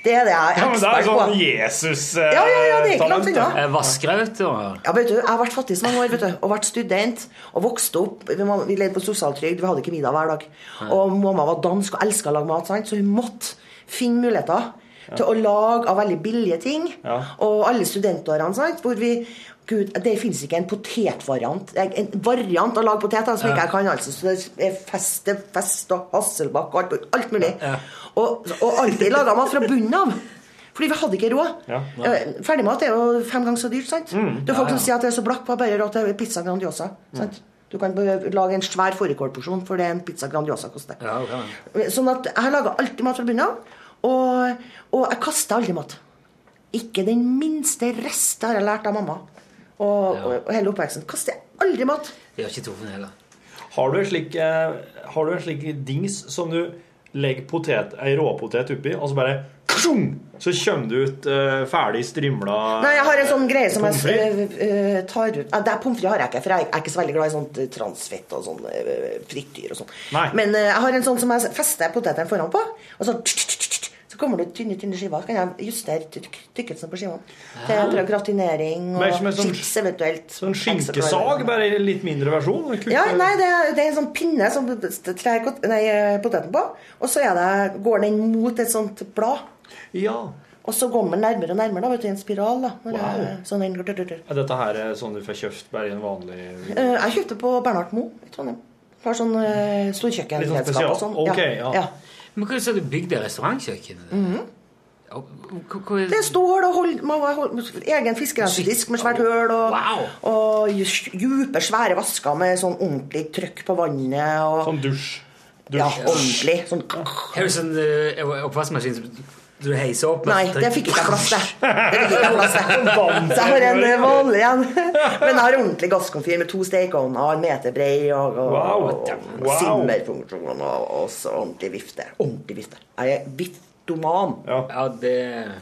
S1: Det er det jeg
S4: Ja,
S1: er
S4: men det er
S1: ekspert på.
S4: sånn Jesus-talent.
S1: Ja, ja, ja, det er ikke langt unna.
S14: Eh, Vassgraut og
S1: Ja, vet du, Jeg har vært fattig så mange år vet du, og vært student og vokste opp. Vi må- vi levde på sosialtrygd, vi hadde ikke middag hver dag. Og mamma var dansk og elska å lage mat, sant? så hun måtte finne muligheter til å lage av veldig billige ting. Og alle studentårene, sant? hvor vi Gud, det fins ikke en potetvariant. Det er En variant å lage poteter som ikke jeg kan, altså. Så det er fest, det er fest og Hasselbakk og alt, alt mulig. Og, og alltid laga mat fra bunnen av. Fordi vi hadde ikke råd.
S4: Ja.
S1: Eh, Ferdigmat er jo fem ganger så dyrt, sant?
S4: Mm.
S1: det er folk
S4: Ja,
S1: som
S4: Mm. ja.
S1: sier at det er så blakk, bare bare råd til pizza Grandiosa. Sant? Du kan bare lage en svær fårikålporsjon for det en pizza Grandiosa koster. Sånn at jeg laga alltid mat fra bunnen av, og, og jeg kasta aldri mat. Ikke den minste rest har jeg lært av mamma. Og, og, og hele oppveksten. Kaster jeg aldri mat.
S14: Det gjør ikke Torfinn heller.
S4: Har du en slik, eh, har du en slik dings som du legger potet, ei råpotet oppi, og så bare ksjung, så kommer det ut eh, ferdig eh, strimla
S1: Nei, jeg har en sånn greie som jeg
S4: Pommes
S1: øh, øh, tar ut uh, Pommes frites har jeg ikke, for jeg er ikke så veldig glad i sånt øh, transfett og sånn øh, frityr og sånn. Men øh, jeg har en sånn som jeg fester potetene foran på, og så så kommer det ut tynne tynne skiver. Så kan jeg justere tyk- tykkelsen på skivene. Til jeg prøver gratinering
S4: Mer
S1: og
S4: som en sånn-
S1: chips eventuelt.
S4: Sånn skinkesag, bare i litt mindre versjon. og kutter-
S1: Ja, nei, det er, det er en sånn pinne som du trær kot- nei, eh, poteten på, og så er det, går den mot et sånt blad. Og så går den nærmere og nærmere, da, vet du, i en spiral. da. Når
S4: Wow.
S1: det er sånn den går dur, dur, dur.
S4: Er dette her eh, sånn du får kjøpt bare i en vanlig
S1: Eh, Jeg kjøpte på Bernhard Moe i Trondheim. Har sånn uh, storkjøkken.
S14: Litt sånn
S1: redskap og
S14: spesial.
S1: sånn.
S14: Ok, ja.
S1: ja.
S14: Men hva sa du bygde restaurantkjøkkenet?
S1: Mhm.
S14: Hva- hva-
S1: Det er stål og hold, man har hold, egen fiskerensedisk med svært høl. Og, og dju- djupe, svære vasker med sånn ordentlig trykk på vannet. Og,
S4: Sånn dusj.
S1: Ja, ordentlig. Sånn
S14: Har du sånn eh, oppvaskmaskin som du heiser opp?
S1: Nei, det fikk ikke jeg plass til. Det fikk ikke jeg plass til.
S14: Vann.
S1: Så jeg har en eh, vanlig en. Men jeg har ordentlig gasskomfyr med to stekeovner, en meter brei og, og,
S4: Wow.
S1: og, og
S4: Wow.
S1: simmerfunksjon og, og så ordentlig vifte. Ordentlig vifte. Jeg er viftoman.
S4: Ja.
S14: det...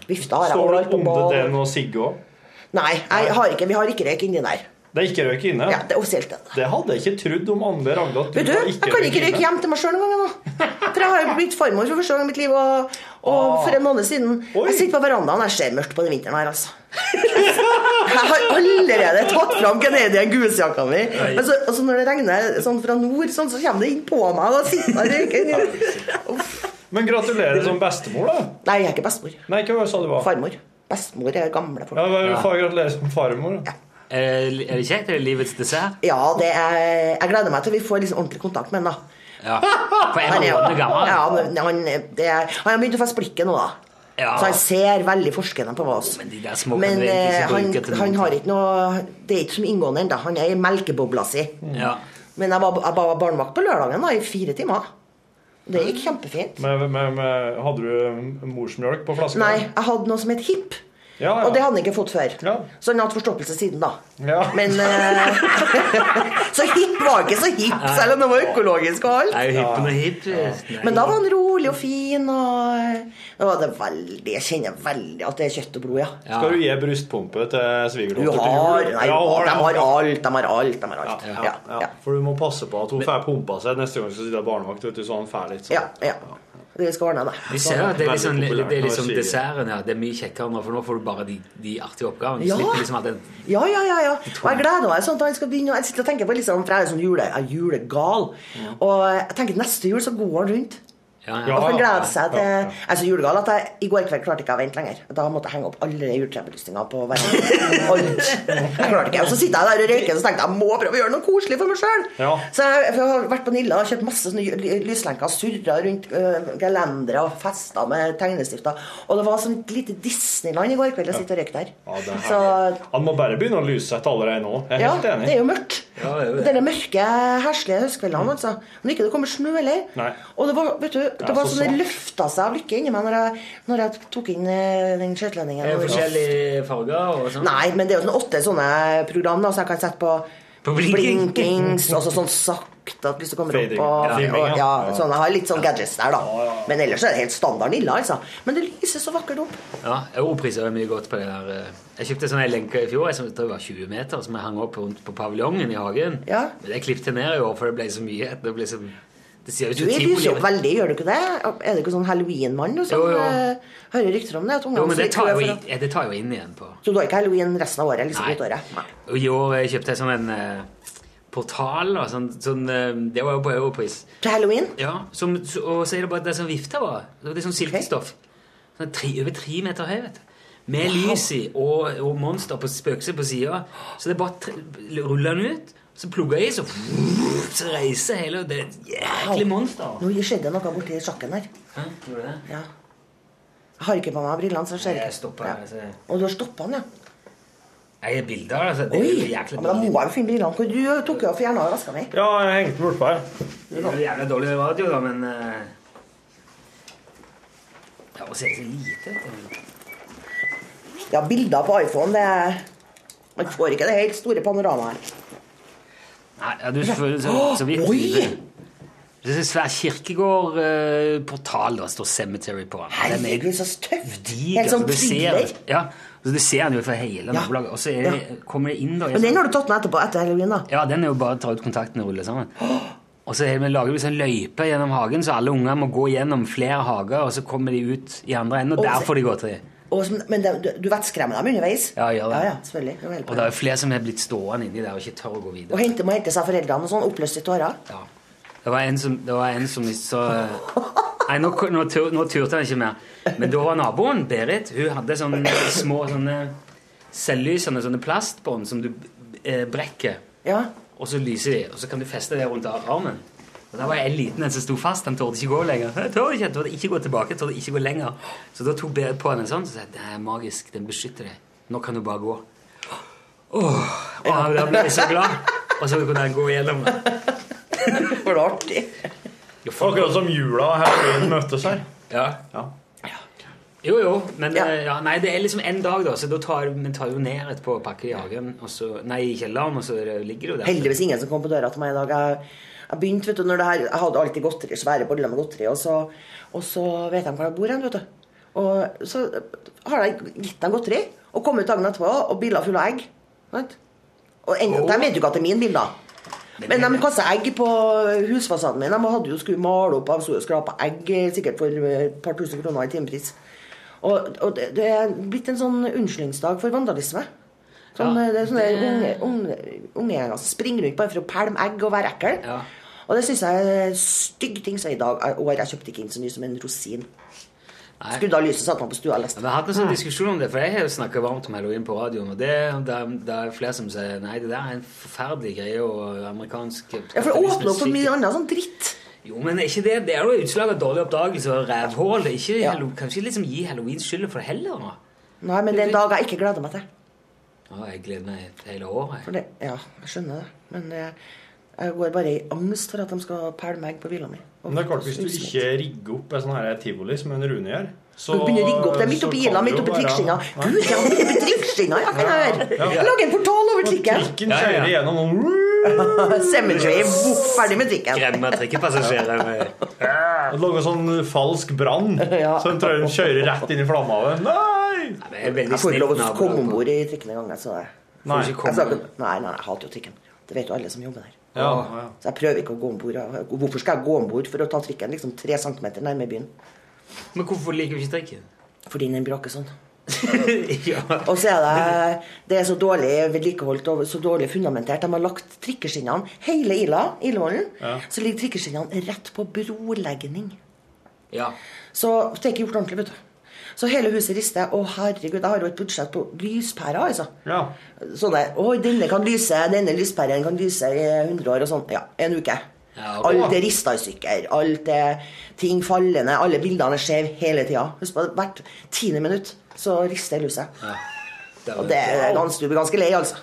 S1: Vifta har jeg
S4: Står
S1: overalt
S4: det
S1: på
S4: under
S1: ball.
S4: den og Sigge òg?
S1: Nei, jeg har ikke, vi har ikke røyk inni der.
S4: Det er ikke røyk inne?
S1: Ja, det er offisielt. det.
S4: Det hadde jeg ikke trodd om Anne Ragda. at
S1: Vet du,
S4: har
S1: jeg kan ikke
S4: røyk
S1: røyke
S4: inne.
S1: hjem til meg sjøl engang ennå. For jeg har jo blitt farmor for første gang i mitt liv, og, og for en måned siden Jeg sitter på verandaen, jeg ser mørkt på den vinteren her, altså. Jeg har allerede tatt fram Canadian Goose-jakka mi. Men så, og så når det regner sånn fra nord, sånn, så kommer det inn på meg, og da sitter jeg og røyker inni
S4: Men gratulerer som bestemor, da.
S1: Nei, jeg er ikke bestemor.
S4: Nei, hva sa du var?
S1: Farmor. Bestemor er gamle folk.
S4: Ja, men far, Gratulerer som farmor. da.
S2: Er det er det kjekt? Er det livets dessert?
S1: Ja, det er, jeg gleder meg til vi får liksom ordentlig kontakt med han, da.
S2: Ja. For jeg er måned gammel.
S1: Ja, men han, det er, han har begynt å få splikken nå, da.
S2: Ja.
S1: Så han ser veldig forskende på oss. Men,
S2: De der små kan
S1: men
S2: du egentlig
S1: eh,
S2: ikke
S1: han,
S2: bruke til
S1: han
S2: noe.
S1: har ikke noe Det er ikke som inngående ennå. Han er i melkebobla si.
S2: Ja.
S1: Men jeg var, jeg var barnevakt på lørdagen da, i fire timer. Det gikk kjempefint.
S4: Med, med, med, hadde du morsmjølk på flaska?
S1: Nei, jeg hadde noe som het hipp.
S4: Ja, ja.
S1: Og det hadde han ikke fått før. Så han har hatt forstoppelse siden da.
S4: Ja.
S1: Men eh, Så hipp var ikke så hipp, selv om det var økologisk og alt.
S2: Er jo hippen og hipp.
S1: Men da var han rolig og fin, og det var det veldig Jeg kjenner veldig at det er kjøtt og blod, ja.
S4: Skal du gi brystpumpe til
S1: Du
S4: svigerdatter til
S1: har
S4: jul?
S1: Nei,
S4: Ja, hun har
S1: de
S4: det.
S1: har alt, de har alt, de har alt.
S4: Ja,
S1: Ja,
S4: ja. For du må passe på at hun får pumpa seg neste gang hun skal sitte barnevakt. Vet du, så han får litt sånn.
S1: ja. ja. Vi skal ordne det.
S2: Vi ser jo at det er liksom,
S4: Veldig populært
S2: det er liksom
S4: når jeg sier det.
S2: desserten her. Det er mye kjekkere nå, for nå får du bare de, de artige oppgavene. Du
S1: Ja.
S2: slipper liksom alt den
S1: Ja, ja, ja, ja. Og jeg gleder meg sånn at han skal begynne og Jeg sitter og tenker på liksom, For jeg er sånn jule, jeg er julegal. Og jeg tenker neste jul så går han rundt.
S2: ja.
S1: og han
S2: Ja,
S1: gleder
S2: ja,
S1: seg til Jeg er så julegal at jeg i går kveld klarte ikke å vente lenger. Da måtte jeg henge opp alle juletrebelysninger på verandaen. Alt. Jeg klarte ikke. Og så sitter jeg der og røyker og tenkte jeg, jeg må prøve å gjøre noe koselig for meg sjøl.
S4: Ja.
S1: Så jeg, for jeg har vært på Nilla og kjøpt masse sånne ly- lyslenker, surra rundt uh, gelendere og festa med tegnestifter. Og det var sånn et lite Disneyland i går kveld å sitte og røyke der.
S4: det er
S1: så
S4: Han må bare begynne å lyssette allerede nå. Jeg er
S1: ja,
S4: helt enig.
S1: det er jo mørkt.
S4: Ja, det er jo det.
S1: Denne mørke, herslige høstkveldene. Altså. Når ikke det kommer snø heller.
S4: Nei.
S1: Og det var, vet du, det
S4: Ja,
S1: var
S4: så
S1: sånn det
S4: sant.
S1: løfta seg av lykke inni meg når jeg, når jeg tok inn eh, den skjøtelendingen.
S2: er jo forskjellige farger og sånn.
S1: Nei, men det er jo sånn åtte sånne program da, så jeg kan sette på
S2: På blinking.
S1: blinkings, og så sånn sakte at lyset kommer
S2: Fading.
S1: opp. Og,
S2: Ja,
S1: og, ja,
S2: ja.
S1: sånn, jeg har litt sånn gadgets der, da. Men ellers er det helt standard Nilla, altså. Men det lyser så vakkert opp.
S2: Ja, Europriser er mye godt på det der. eh. Jeg kjøpte sånn en lenke i fjor jeg som jeg tror det var 20 meter, som jeg hang opp rundt på paviljongen i hagen. Men jeg klippet ned i år, for det ble så mye. Det ble så... Det ser
S1: Du
S2: jo ut som
S1: lyser jo
S2: tivoli.
S1: opp veldig, gjør du ikke det? Er du ikke sånn halloween-mann? du, Som
S2: Jo, jo.
S1: eh, hører rykter om det? At ungene
S2: Jo, men det
S1: sier,
S2: tar
S1: tror
S2: jo,
S1: jeg, for
S2: i- ja, det tar jo inn igjen på
S1: at- Så du har ikke halloween resten av året? liksom
S2: Nei.
S1: ut året? Nei.
S2: Og I år eh, kjøpte jeg sånn en eh, portal. da, Sånn, sånn, eh, det var jo på europris.
S1: Til halloween?
S2: Ja, som, så- og så er det bare det som vifter bare. Det er sånn silkestoff. Sånn tre, over tre meter høy, vet du. Med lys i og, og monster på spøkelse på sida. Så det er bare tre, ruller den ut, så plugger jeg i, så, så reiser hele og Det er et jæklig monster.
S1: Nå skjedde noe borti sjakken her.
S2: Hæ? Gjorde det?
S1: Ja. Jeg har ikke på meg brillene, så jeg ser
S2: Nei, jeg
S1: ikke.
S2: stopper her, så jeg-
S1: Og du har stoppa den, ja?
S2: Jeg er bilder, altså. Det er jo
S1: Oi! Ja,
S2: jæklig
S1: men da må jeg jo finne brillene. Hvor Du tok jo og fjerna veska mi.
S4: Ja, jeg hengte meg bortpå her.
S2: Det er jo jævlig dårlig radio, da, men eh, Ja, og så er det så lite. vet du.
S1: Ja, bilder på iPhone, det er- Man får ikke det helt store panoramaet her.
S2: Nei, ja, du føler så, så vidt. Oi! Det er en svær kirkegårdportal. det står 'Cemetery' på den. Den er
S1: Herregud, så tøft!
S2: diger,
S1: Helt
S2: så
S1: sånn
S2: du ser-
S1: thriller.
S2: Ja, så du ser den jo fra hele nabolaget. Og så er det, kommer det inn da,
S1: Men den har du tatt med etterpå, etter halloween, da?
S2: Ja, den er jo bare å ta ut kontakten og rulle sammen. Og så er det- lager vi sånn løype gjennom hagen, så alle unger må gå gjennom flere hager, og så kommer de ut i andre enden,
S1: Og
S2: og der
S1: se-
S2: får de godteri.
S1: Og, som- men det, du, du vettskremmer dem underveis?
S2: Ja, gjør det.
S1: Ja, ja, selvfølgelig. Det er jo helt
S2: Og det er jo flere som er blitt stående inni der og ikke tør å gå videre.
S1: Og hente, må hente seg foreldrene og sånn, oppløst i tårer.
S2: Det var en som, det var en som så eh, Nei, nå, nå, tur- nå turte han ikke mer. Men da var naboen, Berit, hun hadde sånne små sånne selvlysende sånne plastbånd som du eh, brekker. Og så lyser de, og så kan du feste det rundt ar- armen. Og Da var jeg en liten en som sto fast. Han torde ikke gå lenger. Jeg torde ikke, jeg torde ikke gå tilbake, jeg torde ikke gå lenger. Så da tok Berit på henne en sånn og sa det er magisk, den beskytter deg. Nå kan du bare gå. Åh, og han- da ble jeg så glad. Og så kunne han gå gjennom det.
S1: For det er artig.
S4: Akkurat som jula og halloween møtes her.
S2: Ja. Jo, jo, men eh, ja, nei, det er liksom en dag, da, så da tar men tar jo ned etterpå og pakker i hagen, og så, nei, i kjelleren, og så er det- ligger det jo der.
S1: Heldigvis ingen som kom på døra til meg i dag. Jeg, jeg begynte, vet du, når det her, jeg hadde alltid godteri, svære boller med godteri, og så, og så vet de hvor jeg bor hen, vet du. Og så har jeg gitt dem godteri, og kommet ut dagen etterpå, og biler fulle av egg. Sant? Og en, De vet jo ikke at det er mine bilder. Men de kasta egg på husfasaden min. De hadde jo skulle male opp av skrapa egg, eh, sikkert for eh, et par tusen kroner i timepris. Og, og det, det er blitt en sånn unnskyldningsdag for vandalisme. Sånn,
S15: Ja,
S1: eh, det er sånne
S15: det-
S1: unge, unge, unge som altså. springer rundt bare for å pælme egg og være ekkel. Og det syns jeg er stygg ting. Så i dag i år jeg kjøpte ikke inn så mye som en rosin. Skrudde av lyset, satte meg på stua og leste.
S2: Vi har hatt en sånn diskusjon om det, for jeg har jo snakket varmt om halloween på radioen. Og det, det, er- det er flere som sier nei, det der er en forferdelig greie og amerikansk
S1: Ja, for det åpner opp for mye annet sånn dritt.
S2: Jo, men er ikke det Det er jo utslag av dårlig oppdagelse og rævhull. Det er Ikke, hallo- Kan ikke liksom gi halloween skylda for det heller. nå.
S1: Nei, men det er en dag jeg ikke gleder meg til.
S2: Ja, jeg gleder meg hele året.
S1: For det, ja, jeg skjønner det. Men eh, jeg går bare i angst for at de skal pælme egg på bilen min. Og-
S4: Men det er klart, hvis du ikke rigger opp en sånn her tivoli som en Rune gjør så,
S1: Du begynner å rigge opp. Det er midt
S4: så
S1: oppi
S4: kan
S1: ila,
S4: det
S1: midt
S4: jo
S1: oppi
S4: være-
S1: trikkskinna.
S4: Nei.
S1: Gud, jeg har midt oppi trikkskinna, ja, kan jeg høre!
S4: Ja.
S1: Lage en portal over trikken.
S4: Trikken kjører gjennom og
S1: Cemetery, voff, ferdig med trikken.
S2: Gremmer trikkepassasjerer med
S4: Det lager sånn falsk brann, så den tror jeg kjører rett inn i flammehavet. Nei!
S2: Jeg
S1: Jeg får ikke lov å komme om bord i trikken engang. jeg, Så jeg.
S4: Nei.
S1: Jeg sa ikke- nei, nei, jeg hater jo trikken. Det vet jo alle som jobber der.
S4: Ja,
S1: Så jeg prøver ikke å gå om bord. Hvorfor skal jeg gå om bord for å ta trikken liksom tre centimeter nærme byen?
S2: Men hvorfor liker du ikke trikken?
S1: Fordi den braker sånn.
S2: ja.
S1: Og så er det, det er så dårlig vedlikeholdt og så dårlig fundamentert. De har lagt trikkeskinnene hele Ila, Ilevollen,
S2: Ja.
S1: så ligger trikkeskinnene rett på brolegging.
S2: Ja.
S1: Så det er ikke gjort ordentlig, vet du. Så hele huset rister. Å, herregud, jeg har jo et budsjett på lyspærer, altså. Sånne Å, denne kan lyse, denne lyspæren kan lyse i 100 år og sånn. Ja, en uke.
S2: Ja, ok.
S1: Alt er rista i stykker. Alt er ting fallende. Alle bildene er skjeve hele tida. Husk på at hvert tiende minutt så rister lyset. Og det er ganske, du blir ganske lei, altså.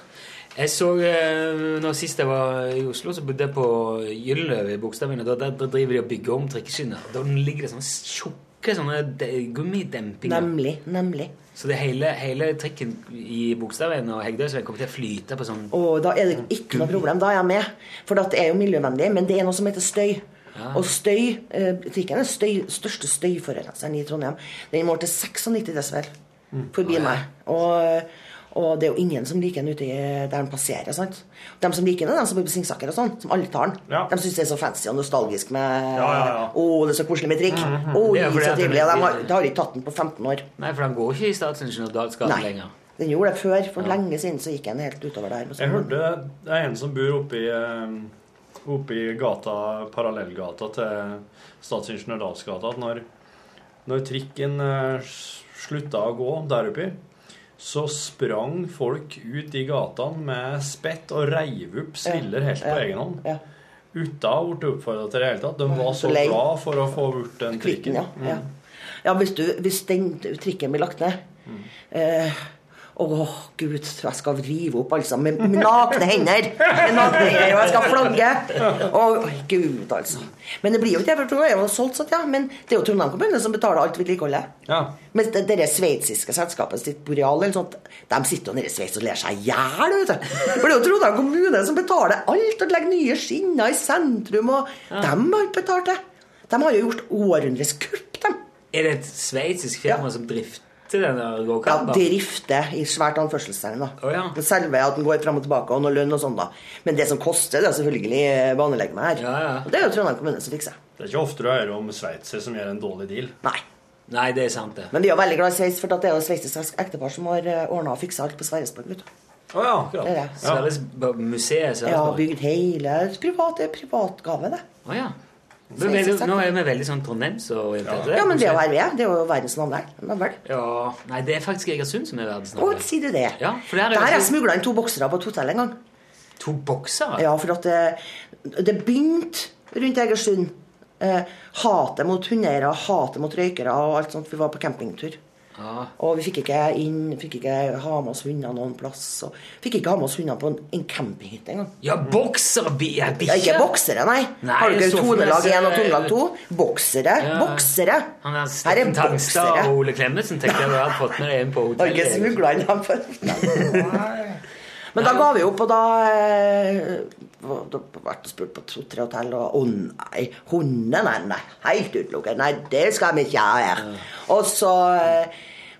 S2: Jeg så eh, når Sist jeg var i Oslo, så bodde jeg på Gyldenløve i Bogstadveien. og Der, der, der driver de og bygger om trikkeskinner. Og Der ligger det sånne tjukke sånne de- gummidempinger.
S1: Nemlig. Nemlig.
S2: Så det hele, hele trikken i Bogstadveien og Hegdøysveien kommer til å flyte på sånn
S1: Og da er det ikke noe problem. Da er jeg med. For at det er jo miljøvennlig, men det er noe som heter støy.
S2: Ja.
S1: Og støy eh, Trikken er den støy, største støyforurenseren i Trondheim. Den målte 96 desibel
S2: Mm.
S1: forbi meg. Og, og det er jo ingen som liker den ute i- der den passerer. sant? De som liker den, er de som bor på Singsaker og sånn. Som alle tar den. De syns det er så fancy og nostalgisk med
S2: Ja, ja, ja.
S1: Å, det er så koselig med trikk.
S2: Mhm.
S1: Å,
S2: Det er fordi
S1: så
S2: at den
S1: trivelig.
S2: er-
S1: Og De har, de har ikke tatt den på 15 år.
S2: Nei, for den går ikke i Statsingeniørdals gate
S1: Nei.
S2: lenger.
S1: Den gjorde det før. For lenge siden så gikk den helt utover der.
S4: Jeg hørte det er en som bor oppe i, eh, oppe i gata, parallellgata til Statsingeniør Dalsgata, at når, når trikken eh, s- slutta å gå der oppe, så sprang folk ut i gatene med spett og reiv opp sviller helt på
S1: ja,
S4: egen hånd. Uten å ha blitt oppfordra til det i hele tatt. De var
S1: så
S4: så
S1: lei.
S4: glad for å få bort den
S1: Trikken,
S4: trikken. Mm.
S1: ja. ja. ja hvis, du, hvis den trikken blir lagt ned
S4: Mm.
S1: eh, Åh, gud, jeg skal rive opp altså, med, med nakne hender! Med nakne hender, Og jeg skal flagge! Og, gud, altså. Men det blir jo ikke det, for Trondheim har solgt sånt, ja. Men det er jo Trondheim kommune som betaler alt vedlikeholdet.
S4: Ja.
S1: Mens det, det der sveitsiske selskapet sitt Boreal eller sånt, de sitter jo nede i Sveits og ler seg i hjel. vet du. For det er jo Trondheim kommune som betaler alt og legger nye skinner i sentrum. Og de har ikke betalt det. De har jo gjort århundres kupp, dem.
S2: Er det et sveitsisk firma som drifter den der gåkarten? da?
S1: Drifte i svært anførselstegn. da.
S2: Å, ja.
S1: Men Selve at den går fram og tilbake, og noe lønn og sånn, da. Men det som koster, det er selvfølgelig eh, banelegemet her. Og det er jo Trondheim kommune som fikser.
S4: Det er ikke ofte du hører om sveitsere som gjør en dårlig deal.
S1: Nei.
S2: Nei, det er sant, det.
S1: Men vi er jo veldig glad i Sveits, for at det er jo et sveitsisk ektepar som har ordna og fiksa alt på Sverresborg. vet du.
S4: Å ja, akkurat.
S1: Det er det.
S2: Sverres museet
S1: Ja, bygd hele privat, det er privatgave, det.
S2: Å ja. Men er det- Nå er vi veldig sånn trondheimsorienterte.
S1: Ja, men det er jo RV. Det er jo verdens navnvern. Navnvern.
S2: Ja, Nei, det er faktisk Egersund som er verdensnavnet.
S1: Og si du det.
S2: Ja, for der er
S1: Der har
S2: det
S1: jeg smugla inn to boksere på et hotell en gang.
S2: To boksere?
S1: Ja, for at det, det begynte rundt Egersund. Eh, hatet mot hundeeiere, hatet mot røykere og alt sånt. Vi var på campingtur.
S2: Ja.
S1: Og vi fikk ikke inn, fikk ikke ha med oss hundene noen plass. Og fikk ikke ha med oss hundene på en, en campinghytte engang.
S2: Ja, boksere bi- ja,
S1: Ja,
S2: bikkje.
S1: ikke boksere, nei.
S2: Nei,
S1: Har du
S2: jeg
S1: ikke
S2: så for meg
S1: tonelag
S2: så-
S1: 1 og tonelag 2? Boksere.
S2: Ja.
S1: Boksere.
S2: Han er
S1: Her er
S2: Steffen Tangstad
S1: boksere.
S2: og Ole Klemetsen tenkte jeg du hadde fått med deg inn på
S1: Har ikke
S2: hotellet.
S1: smugla inn dem på Men da ga vi opp, og da eh, vært og spurt på to-tre hotell, og å nei, hunder, nei, nei, helt utelukket. Nei, det skal vi ikke ha her. Og så, eh,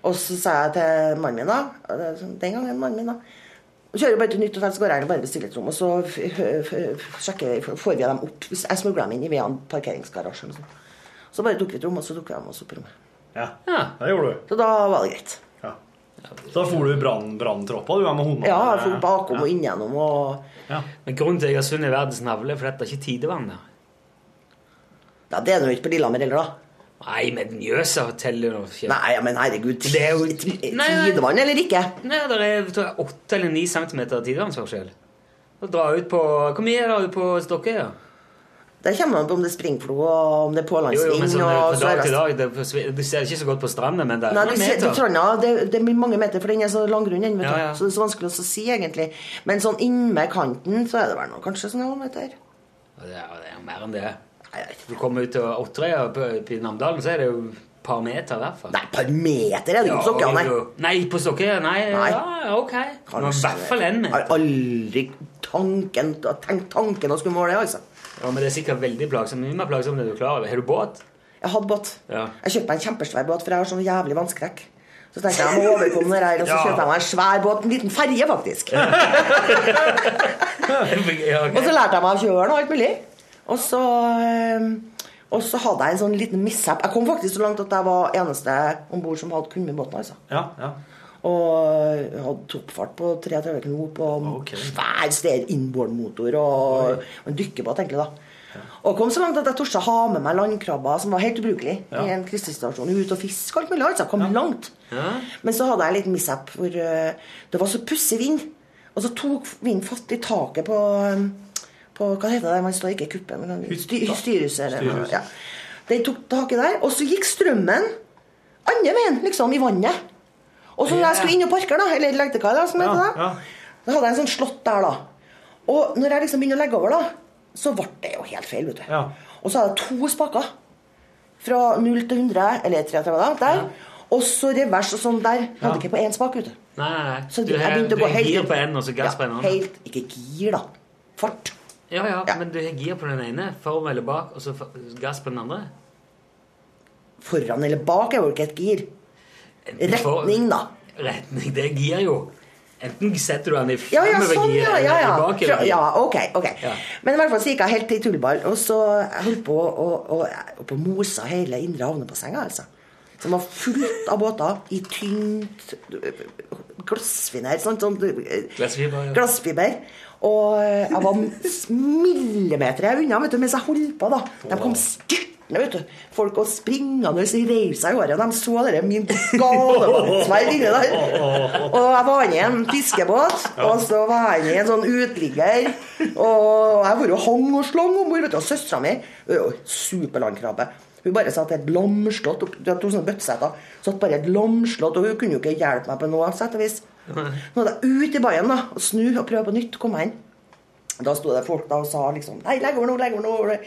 S1: og så sa jeg til mannen min, da, og det- sånn, den gangen mannen min, da så kjører jeg bare til nytt hotell, så går jeg inn og bare bestiller et rom, og så f- f- f- sjekker vi, får vi dem opp. Hvis jeg smugler dem inn i via en parkeringsgarasje eller noe sånt. Så bare tok vi et rom, og så tok vi dem også på rommet.
S4: Ja. det gjorde du.
S1: Så da var det greit.
S4: Ja. Da for du brann- branntroppa, du, er med hundene?
S1: Ja, jeg for bakom og inngjennom og
S2: Men grunnen til at Egersund er verdens navle, er fordi det er ikke tidevann der.
S1: Ja, det er det jo ikke på Lillehammer heller, da.
S2: Nei, men Mjøsa teller jo ikke.
S1: Nei, ja, men herregud.
S2: Det er jo
S1: Tidevann eller ikke?
S2: Nei, det er tror jeg, 8 eller 9 cm tidevannsforskjell. Da drar jeg ut på Hvor mye drar du på Stokkøya?
S1: Der kommer det an på om det er springflo og om det er
S2: Jo, jo,
S1: pålandsvind
S2: men sånn
S1: og
S2: fra dag til
S1: sørvest.
S2: dag det forsvin- Du ser ikke så godt på stranden, men det er
S1: Nei,
S2: noen
S1: du ser, du,
S2: meter.
S1: Trondheim, ja, det, det blir mange meter, for den er så langgrunn, den, vet du.
S2: Ja, ja.
S1: Så det er så vanskelig å si, egentlig. Men sånn innmed kanten så er det vel noe, kanskje sånn noen meter.
S2: Ja, Det er, det er jo mer enn det. Du kommer ut til Åtterøya på- oppe i Namdalen, så er det jo et par meter i hvert fall.
S1: Nei, et par meter er det ikke på Stokkøya, nei.
S2: Nei, på Stokkøya, nei.
S1: Nei.
S2: Ja, ok. Det var i hvert fall en meter.
S1: Har aldri tanken, tenkt tanken å skulle måle det, altså.
S2: Ja, men det er sikkert veldig plagsomt. Mye mer plagsomt enn du er klar over. Har du båt?
S1: Jeg hadde båt.
S2: Ja.
S1: Jeg kjøpte meg en kjempesvær båt, for jeg har sånn jævlig vannskrekk. Så tenkte jeg jeg må overkomme det her, og så
S2: Ja.
S1: kjøpte jeg meg en svær båt, en liten ferje faktisk.
S2: ja, ok.
S1: Og så lærte jeg meg å kjøre og alt mulig. Og så, eh, og så hadde jeg en sånn liten mishap. Jeg kom faktisk så langt at jeg var eneste om bord som hadde kunnet båten. altså.
S4: Ja, ja.
S1: Og jeg hadde toppfart på 33 knop
S2: Ah,
S1: og svær sted innbordmotor og, og en dykkerbåt, egentlig. da. Og kom så langt at jeg torde å ha med meg landkrabber som var helt ubrukelig
S2: Ja.
S1: i en kristestasjon. Ut og fiske alt mulig. altså. Jeg kom langt.
S2: Ja.
S1: Men så hadde jeg en liten mishap hvor eh, det var så pussig vind. Og så tok vinden fatt i taket på, eh, på Hva heter det? Man står ikke i kuppet, men sty- styrehuset. eller noe,
S16: Styrehuset.
S1: Ja. Den tok taket der, og så gikk strømmen andre veien, liksom, i vannet. Og så når jeg skulle inn og parkere, da, eller legdekai, da, som heter det, da hadde jeg en sånn slott der, da. Og når jeg liksom begynner å legge over, da, så ble det jo helt feil, vet du. Og så hadde jeg to spaker. Fra 0 til 100, eller 33, da, der. Og så revers og sånn der. Hadde ikke på én spak, vet du.
S2: Nei, nei, nei.
S1: Så
S2: du,
S1: jeg
S2: har-
S1: begynte å
S2: du
S1: gå
S2: har
S1: helt
S2: gir
S1: ut.
S2: på en, og så gass på en annen.
S1: Helt, ikke gir, da. Fart.
S2: Ja, ja, men du har gir på den ene, foran eller bak, og så fa- gass på den andre.
S1: Foran eller bak er jo ikke et gir. Retning, da.
S2: Retning, det er gir jo. Enten setter du den i
S1: Ja, ja,
S2: fremover
S1: sånn,
S2: gir,
S1: ja.
S2: eller
S1: ja, ja.
S2: i
S1: Fra,
S2: bakover gir.
S1: ja ok, ok.
S2: Ja.
S1: Men i hvert fall så gikk jeg helt til tullball, og så jeg holdt på å å- å- oppe og mosa hele indre havnebassenget, altså. Som var fullt av båter i tynt glassfiner. Sånn, sånn
S2: Glassfiber, ja.
S1: glassfiber. Og eh, jeg var millimeter unna vet du, mens jeg holdt på. da. De kom styrtende, vet du. Folk og springende og så reiv seg i håret. De så dere, min galevannssverd inni der. Og jeg var inne i en fiskebåt, og så var jeg inne i en sånn uteligger. Og jeg var jo hang og slang om bord. Og søstera mi, superlandkrabbe hun bare satt et lamslått opp, Du hadde to sånne bøtteseter. Satt bare et lamslått, og hun kunne jo ikke hjelpe meg på noe sett og vis. Nå er jeg ut i baien da, og snu og prøve på nytt. Kom jeg inn. Da sto det folk da og sa liksom Nei, legg over nå, legg over nå. over nå».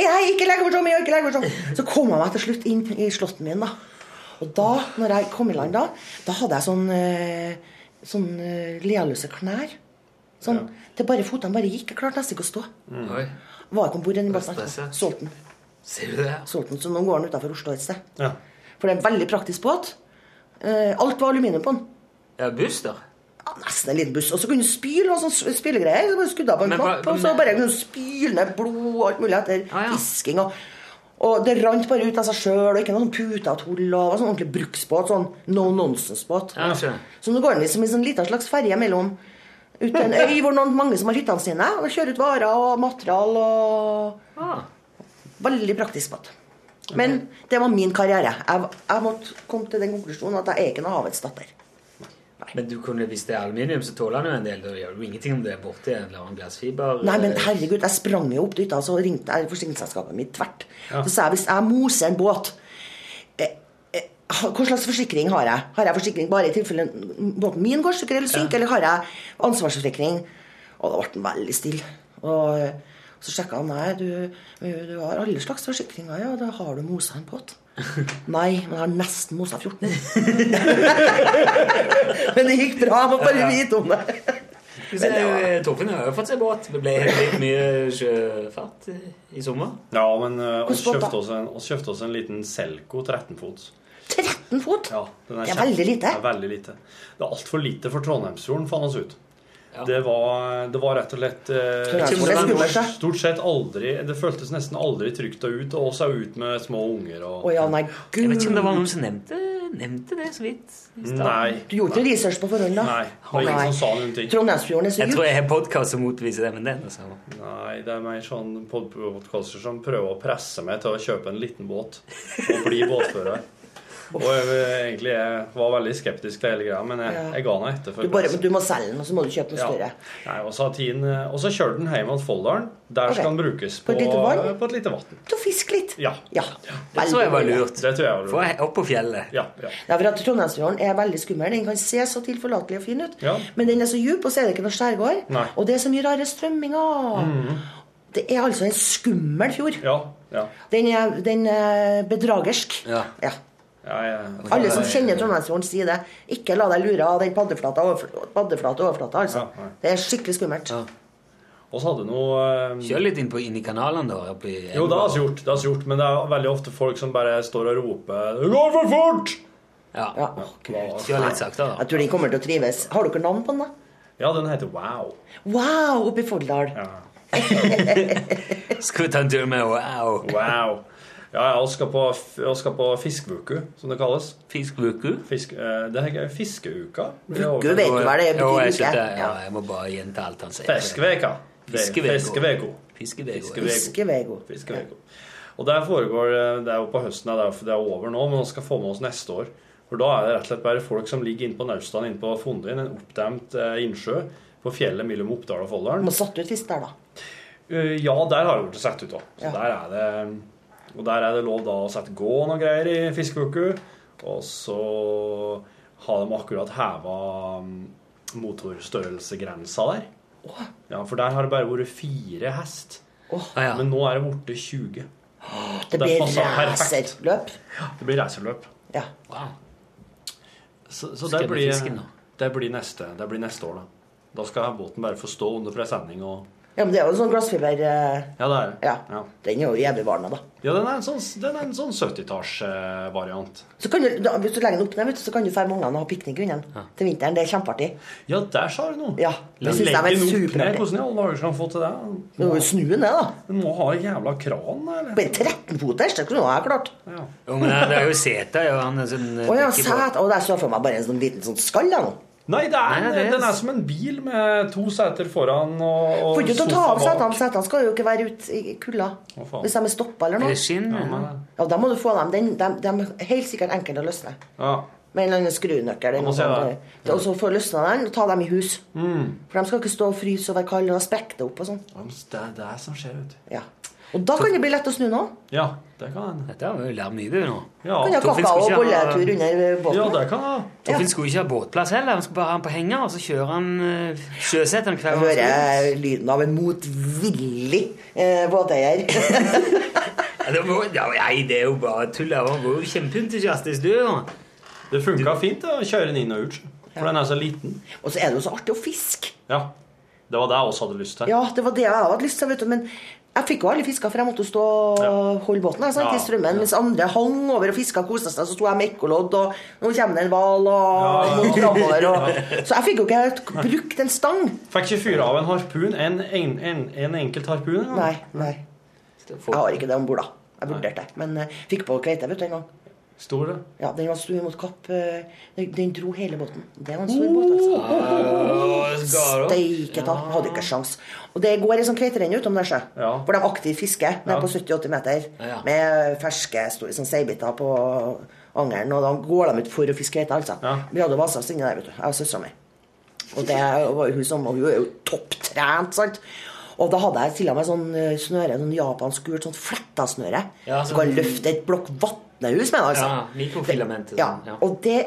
S1: «Jeg ikke legg over Tommy, jeg ikke legg over Tommy. Så kom jeg meg til slutt inn i slåtten min, da. Og da, når jeg kom i land da, da hadde jeg sånn eh, Sånn eh, lealøse knær. Sånn. Det bare fotene bare gikk. Jeg klarte nesten ikke å stå.
S2: Oi.
S1: Var ikke om bord i den båten.
S2: Stressa.
S1: Solgte den.
S2: Ser du det?
S1: Solgte den, så nå går den utenfor Oslo et sted.
S4: Ja.
S1: For det er en veldig praktisk båt. Eh, alt var aluminium på den.
S2: Ja, buss, da.
S1: Nesten en liten buss. Og så kunne du spyle og sånn spylegreier. Så bare skudde av på en
S2: Men hva-
S1: knapp, og så
S2: men- Ah,
S1: bare kunne du spyle ned blod og alt mulig etter fisking. Og, og det rant bare ut av seg sjøl, og ikke noe sånn pute og tull. Og det var sånn ordentlig bruksbåt. Sånn no nonsense-båt.
S2: Ja, skjønner.
S1: Så nå går den liksom i sånn liten slags ferje mellom ut til en øy hvor noen mange som har hyttene sine, og kjører ut varer og material og
S2: Ah.
S1: Veldig praktisk båt. Men det var min karriere. Jeg, jeg måtte komme til den konklusjonen at jeg er ikke noe havets datter.
S2: Men du kunne, hvis det er aluminium, så tåler han jo en del. Da gjør du ingenting om det er borti en eller annen glassfiber.
S1: Nei, men herregud, jeg sprang jo opp dit, og så ringte jeg forsikringsselskapet mitt tvert.
S2: Ja.
S1: Så sa jeg hvis jeg moser en båt eh, eh, ha- hva slags forsikring har jeg? Har jeg forsikring bare i tilfelle båten min går stykker eller synker, eller har jeg ansvarsforsikring? Og da ble den veldig stille. Og eh, så sjekka han nei, du, eh, du har alle slags forsikringer, ja, da har du mosa en båt. Nei, men jeg har nesten mosa 14. men det gikk bra, jeg må bare vite om det.
S14: Så, eh, Torfinn har jo fått seg båt. Det ble litt mye sjøfart eh, i sommer.
S4: Ja, men eh, oss
S14: Hvordan båt da?
S4: kjøpte oss, en, oss kjøpte oss en liten Selco 13-fots.
S1: 13 fot?
S4: Ja, den
S1: Det er
S4: kjempe-
S1: veldig lite.
S4: Det er veldig lite. Det er altfor lite for Trondheimsfjorden, fant oss ut. Det, var, det var rett og slett eh,
S1: Trondheimsfjorden er skummelt, da.
S4: Stort sett aldri Det føltes nesten aldri trygt å ut, og oss er ut med små unger og
S1: Å ja, nei, gud.
S4: Jeg vet ikke om det var noen
S14: som nevnte, nevnte det så vidt.
S4: Nei.
S1: Du gjorde ikke research på forhånd, da? Nei. Trondheimsfjorden er så
S14: Jeg tror
S1: djup.
S14: jeg har podkast som motbeviser det, men det er noe sånt.
S4: Nei, det er mer sånn podcaster som prøver å presse meg til å kjøpe en liten båt og bli båtfører. Og jeg eh, egentlig jeg var veldig skeptisk til hele greia, men jeg,
S1: Ja.
S4: jeg ga meg etter.
S1: Du, bare, du må selge den, og så må du kjøpe den større.
S4: Nei, og så har tiden, eh, og så kjører den hjem til Folldalen. Der
S1: Ok.
S4: skal den brukes
S1: På
S4: på,
S1: et lite vann?
S4: eh, på et lite vann.
S1: Til å fiske litt.
S4: Ja.
S1: Det tror jeg var lurt.
S4: Det tror jeg var
S14: Få he- opp på fjellet.
S4: Ja, ja.
S1: Ja, for at Trondheimsfjorden er veldig skummel. Den kan se så tilforlatelig og fin ut,
S4: Ja.
S1: men den er så djup, og så er det ikke noe skjærgård.
S4: Nei.
S1: Og det er så mye rare strømminger.
S4: Mhm.
S1: Det er altså en skummel fjord.
S4: Ja, ja.
S1: Den er, den er bedragersk.
S4: Ja.
S1: Og Alle som kjenner Trondheimsfjorden, sier det. Ikke la deg lure av den paddeflata overflata, paddeflate overflata altså. det er skikkelig skummelt.
S4: Og så hadde noe eh,
S14: Kjør litt inn, på, inn i kanalen, da. Opp i
S4: Jo, det har vi gjort, det har vi gjort, men det er veldig ofte folk som bare står og roper 'Det går for fort!'
S14: Ja.
S4: Kjør litt saktere,
S1: Jeg tror den kommer til å trives. Har dere navn på den, da?
S4: Ja, den heter Wow.
S1: Wow, oppe i Folldal.
S14: Skal vi ta en tur med Wow?
S4: Wow. Ja, ja, vi skal på, vi skal på fiskevuku, som det kalles.
S14: Fiskvuku?
S4: Fisk, eh, det er fiskeuka.
S14: Vuku Jo, jeg skjønte det. Ja, jeg må bare gjenta alt han sier.
S4: Fiskeveka. Det er
S14: Fiskeveko.
S4: Fiskeveko.
S14: Fiskeveko.
S4: Fiskeveko. Fiskeveko. Og der foregår eh, Det er jo på høsten, det er, jo- det er over nå, men vi skal få med oss neste år. For da er det rett og slett bare folk som ligger inne på Naustdal, inne på Fondin, en oppdemt eh, innsjø på fjellet mellom Oppdal og Folldalen.
S1: Må satt ut fisk der, da.
S4: Eh, Ja, der har det blitt sett ut òg. Så der er det Og der er det lov da å sette gåen og greier i fiskeuku. Og så har de akkurat heva mm, motorstørrelsegrensa der. Ja, for der har det bare vært fire hest. Men nå er det borte 20.
S1: Det
S4: Så
S1: blir
S4: passer perfekt.
S1: racerløp.
S4: Det blir racerløp.
S1: Ja.
S4: Så, så
S14: Skal
S4: det,
S14: jeg bli
S4: blir,
S14: fisken, da?
S4: det, blir neste, det blir neste år, da. Da skal båten bare få stå under presenning og
S1: ja, men det er jo en sånn glassfiber eh,
S4: Ja, det er det. Ja.
S1: Den er jo evigvarende, da.
S4: Ja, den er en sånn, den er en sånn eh, 70-tallsvariant.
S1: Så kan du, da, hvis du legger den opp ned, vet du, så kan du fære med ungene og ha piknik under den til vinteren. Det er kjempeartig.
S4: Ja, der sa du noe.
S1: Ja, det synes jeg var
S4: ned.
S1: superartig.
S4: Hvordan i alle dager skal han få til det?
S1: Du må jo snu den ned, da.
S4: Den må ha en jævla kran, da, eller?
S1: På en 13-foters, det kunne jeg ha klart. Å ja,
S14: Jo, men det er jo seta, jo. Han er sånn eh, drikkebåt.
S1: sæt. Å, der så jeg for meg bare en sånn liten sånn skall, da. nå.
S4: Nei, det er,
S1: Nei, det er-
S4: den er som en bil med to seter foran og, og
S1: Får ikke til å ta av
S4: sofa bak.
S1: setene. Setene skal jo ikke være ute i kulda.
S4: Å, faen.
S1: Hvis de er stoppa eller
S4: Er
S1: noe.
S4: det skinn, Ja, eller? men-
S1: Ja, da må du få dem. Den, dem, dem er helt sikkert enkle å løsne.
S4: Ja.
S1: Med en eller annen skrunøkkel. eller
S4: må
S1: noe
S4: se
S1: sånt.
S4: det. Mm.
S1: Og så få løsna den og ta dem i hus. For de skal ikke stå og fryse og være kalde og sprekke det opp og sånn.
S4: Det er det som skjer, vet du.
S1: Ja. Og da kan det bli lett å snu nå.
S4: Ja, det kan hende.
S14: Dette har vi jo lært mye, du, nå.
S4: Ja.
S1: Kan jeg ha kakao og bolletur under båten?
S4: Ja, det kan jeg ha.
S14: Torfinn skulle ikke ha båtplass heller. Han skulle bare ha den på henger, og så kjører han eh, sjøseter den hver
S1: Jeg
S14: gang han skal ut.
S1: hører lyden av en motvillig eh, båteier.
S14: Ja, det må- ja, Nei, det er jo bare tull. Han var jo kjempeentusiastisk, du.
S4: Det funka fint å kjøre den inn og ut. For den er så liten.
S1: Og så er det jo så artig å fiske.
S4: Ja. Det var det jeg også hadde lyst til.
S1: Ja, det var det jeg hadde lyst til, vet du. Men jeg fikk jo aldri fiska, for jeg måtte jo stå og holde båten jeg, sant,
S4: Ja,
S1: i strømmen. Mens andre hang over og fiska og kosa seg. Så sto jeg med ekkolodd, og nå kommer det en hval, og noen krabber og Så jeg fikk jo ikke helt brukt en stang.
S4: Fikk ikke fyre av en harpun. En, en, en, en enkelt harpun. engang.
S1: Nei. nei. Jeg har ikke det om bord, da. Jeg vurderte det. Men eh, fikk på kveite, vet du, en gang.
S4: Stor, det.
S1: Ja, den var stor mot kapp. eh, Den den dro hele båten. Det var en stor båt,
S14: Åh,
S1: altså.
S14: skal opp.
S1: Steike ta. Hadde ikke sjans. Og det går ei sånn kveiterenn utom der, sjø. Hvor de aktivt fisker ned på 70-80 meter.
S14: Ja.
S1: Med ferske store sånn seibiter på angeren. Og da går de ut for å fiske kveite, altså. Vi hadde vasa oss inni der, vet du. Jeg og søstera mi. Og det var jo hun som Og hun er jo topptrent, sant. Og da hadde jeg til og med sånn eh, snøre, sånn japansk gult, sånn fletta snøre.
S14: Ja,
S1: Du
S14: sånn-
S1: kan løfte et blokk vatnehus med det, altså.
S14: Ja, mikrofilament. og
S1: Ja,
S14: sånn, ja.
S1: og det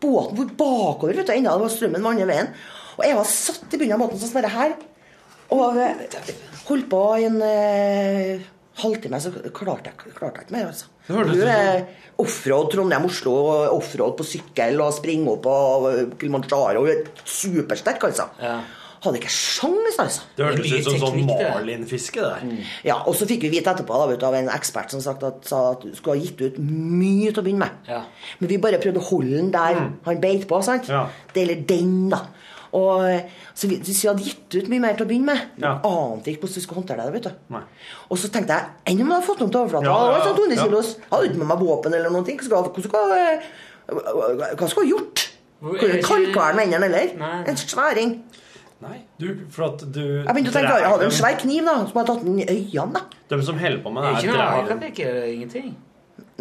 S1: Båten for bakover, vet du, enda det var strømmen var andre veien. Og jeg var satt i bunnen av båten sånn som bare her. Og eh, holdt på i en eh, halvtime, så klarte jeg, klarte jeg ikke mer, altså.
S4: Det hørtes
S1: Du
S4: ut som-
S1: er offroad Trondheim-Oslo, og offroad på sykkel og springe opp på Kilimanjaro. Hun er supersterk, altså. Hadde ikke sjans, altså.
S4: Det
S1: er
S4: hørtes ut
S1: mye
S4: som sånn
S1: teknikk, det der.
S4: Marlin-fiske der.
S1: Ja, og så fikk vi vite etterpå da, vet du, av en ekspert som sagt at, sa at du skulle ha gitt ut mye til å begynne med. Men vi bare prøvde å holde den der
S17: Mm.
S1: han beit på, sant? Det gjelder den, da. Og, så vi, hvis vi hadde gitt ut mye mer til å begynne med, vi ante ikke hvordan vi skulle håndtere det. vet du. Og så tenkte jeg, enn om jeg hadde sånn fått noe til overflaten?
S17: Ja,
S1: Ja,
S17: ja, ja.
S1: 200
S17: Ja.
S1: kilos. Jeg hadde ikke med meg våpen eller noen ting. Hva skulle jeg- hva skulle jeg hva skulle jeg gjort? Kunne jeg kalka den med hendene, eller? En sværing.
S4: Du, for at du
S1: Jeg begynte å tenke, jeg hadde en svær kniv da, som jeg hadde tatt den i øynene. da.
S4: De som holder på med
S2: Det er
S4: det,
S2: ikke noe
S4: her, drar
S2: hakapikk, det er ingenting.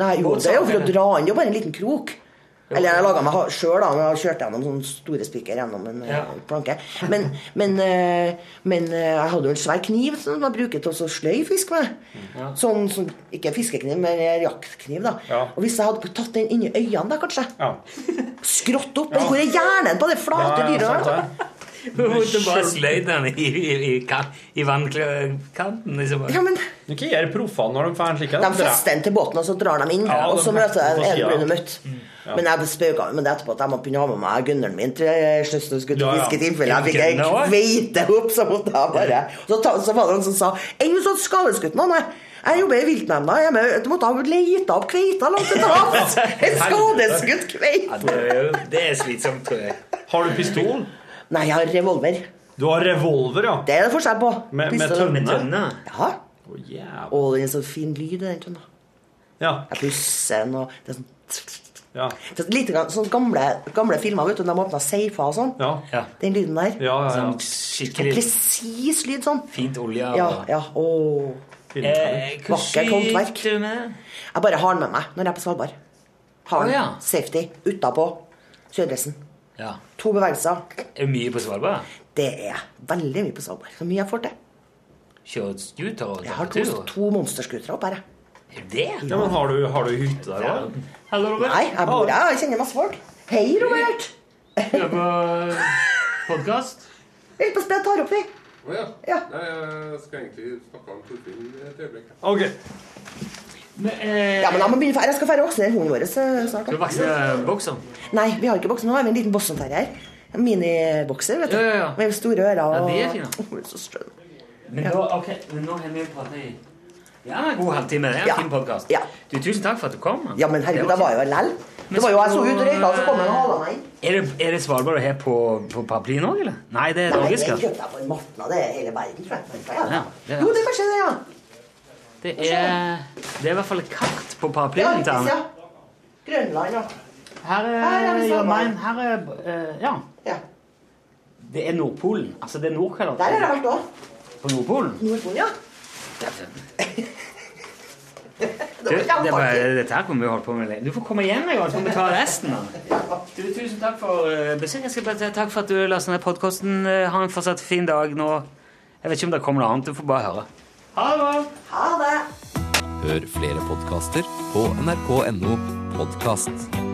S1: Nei, jo,
S2: Båtsak,
S1: det er jo for å
S2: eller?
S1: dra inn. Det er jo bare en liten krok. Eller jeg laga meg sjøl, da. men Jeg kjørte gjennom sånne store spiker gjennom en eh,
S2: Ja.
S1: planke. Men, men, eh, men eh, jeg hadde jo en svær kniv som jeg bruker til å sløye fisk med. Sånn, som- Ikke fiskekniv, men eh, jaktkniv. da. Og hvis jeg hadde tatt den inni øynene, da, kanskje Skrått opp. Men hvor er hjernen på det flate dyret? der?
S2: Du måtte bare sløyd den i, i, i, kan- i vannkanten. Liksom.
S1: Ja, men-
S4: Du ikke gjør proffene når de får en slik
S1: De fester den til båten, og så drar de inn.
S4: Ja,
S1: og
S4: de
S1: så møter
S4: fester den
S1: jeg
S4: på
S1: en
S4: siden. Mm,
S1: brun mutt.
S4: Ja.
S1: Men jeg spøka med det etterpå at jeg måtte begynne å ha med meg gunneren min til sjøs når vi skulle
S4: Ja,
S1: til
S4: ja.
S1: fiske i tilfelle jeg fikk
S4: Ja,
S1: ei
S4: gunner også.
S1: kveite opp, så måtte jeg bare Så, ta, så var det noen som sa Enn hvis du hadde skadeskutt noen? Nei. Jeg jobber i viltnemnda hjemme. Du måtte ha leita opp kveita langt til havs! En skadeskutt kveite!
S2: Det er, jo- det er slitsomt, tror jeg.
S4: Har du pistol?
S1: Nei, jeg har revolver.
S4: Du har revolver, ja?
S1: Det er det forskjell på.
S4: Med, med
S1: Pistol.
S4: tønne?
S1: Ja.
S4: Å, jævla.
S1: Å, det er en så fin lyd i den tønna. Jeg pusser den, og det er sånn Det er lite grann, sånn gamle, gamle filmer, vet du, de åpna safer og sånn. Den lyden der.
S2: Sånn
S1: Sånn
S2: skikkelig
S1: presis lyd sånn.
S2: fint olje.
S1: Ja,
S2: og-
S1: ja, åh.
S2: Eh, hva
S1: Vakkert håndverk.
S2: skyter du med?
S1: Jeg bare har den med meg når jeg er på Svalbard. Har den.
S2: Å, ja.
S1: Safety utapå kjøredressen.
S2: Ja.
S1: To bevegelser.
S2: Er det mye på Svalbard?
S1: Det er veldig mye på Svalbard. Så mye jeg får til.
S2: Kjører scooter og
S1: Jeg har to, to monsterskutere opp her, jeg.
S2: Det?
S4: Ja, men har du, har du hytte der òg?
S2: Hallo, Robert.
S1: Nei, jeg bor her. Jeg kjenner masse folk. Hei, Robert.
S2: Hører på podkast?
S1: Helt på sted, tar opp, vi.
S12: Å ja.
S1: Ja.
S12: Nei, jeg skal egentlig snakke om Torfinn eh, et øyeblikk.
S4: Ok.
S2: eh,
S1: Ja, men jeg må begynne, jeg skal færre vaksinere hunden vår eh, snart.
S2: Skal du vokse boksen?
S1: Nei, vi har ikke bokser nå. Vi har en liten bossenterrier. En minibokser, vet du.
S2: Ja, ja, ja.
S1: Med store ører og
S2: Ja, de er fine.
S1: Hun er så skjønn.
S2: Men
S1: Ja.
S2: nå, ok, men nå har vi pratet i Ja, en god halvtime. Det er en
S1: Ja.
S2: fin podcast. Du, tusen takk for at du kom. mann.
S1: Ja, men herregud, jeg var jo lell.
S2: Men
S1: Det var jo jeg så
S2: skal-
S1: ut og røyka, og så kom han og hala meg inn.
S2: Er det, er det Svalbard å ha på, på paraplyen òg, eller? Nei, det er altså.
S1: Nei, det
S2: Norges
S1: kjøpte
S2: kaffe.
S1: jeg på en martna. Det er hele verden, tror jeg. Ja, ja.
S2: Ja, det er-
S1: Jo, det er kanskje det, ja.
S2: Det er, det er i hvert fall et kart på paraplyen til
S1: Arktis,
S2: han.
S1: ja. Grønland, ja.
S2: Her
S1: Her er
S2: er
S1: vi
S2: Jørmein.
S1: sammen.
S2: Her er eh, Ja.
S1: Ja.
S2: Det er Nordpolen. Altså, det er Nordkalott.
S1: Der har jeg vært òg.
S2: På Nordpolen?
S1: Nordpolen, ja.
S2: Du, det var, dette her kommer vi å holde på med lenge. Du får komme igjen en gang, så kan vi ta resten. Da. Du, tusen takk for eh, besøket. Jeg skal bare si Takk for at du lasta ned podkasten. Ha en fortsatt fin dag nå. Jeg vet ikke om det kommer noe annet. Du får bare høre. Ha det bra.
S1: Ha det.
S18: Hør flere podkaster på nrk.no podkast.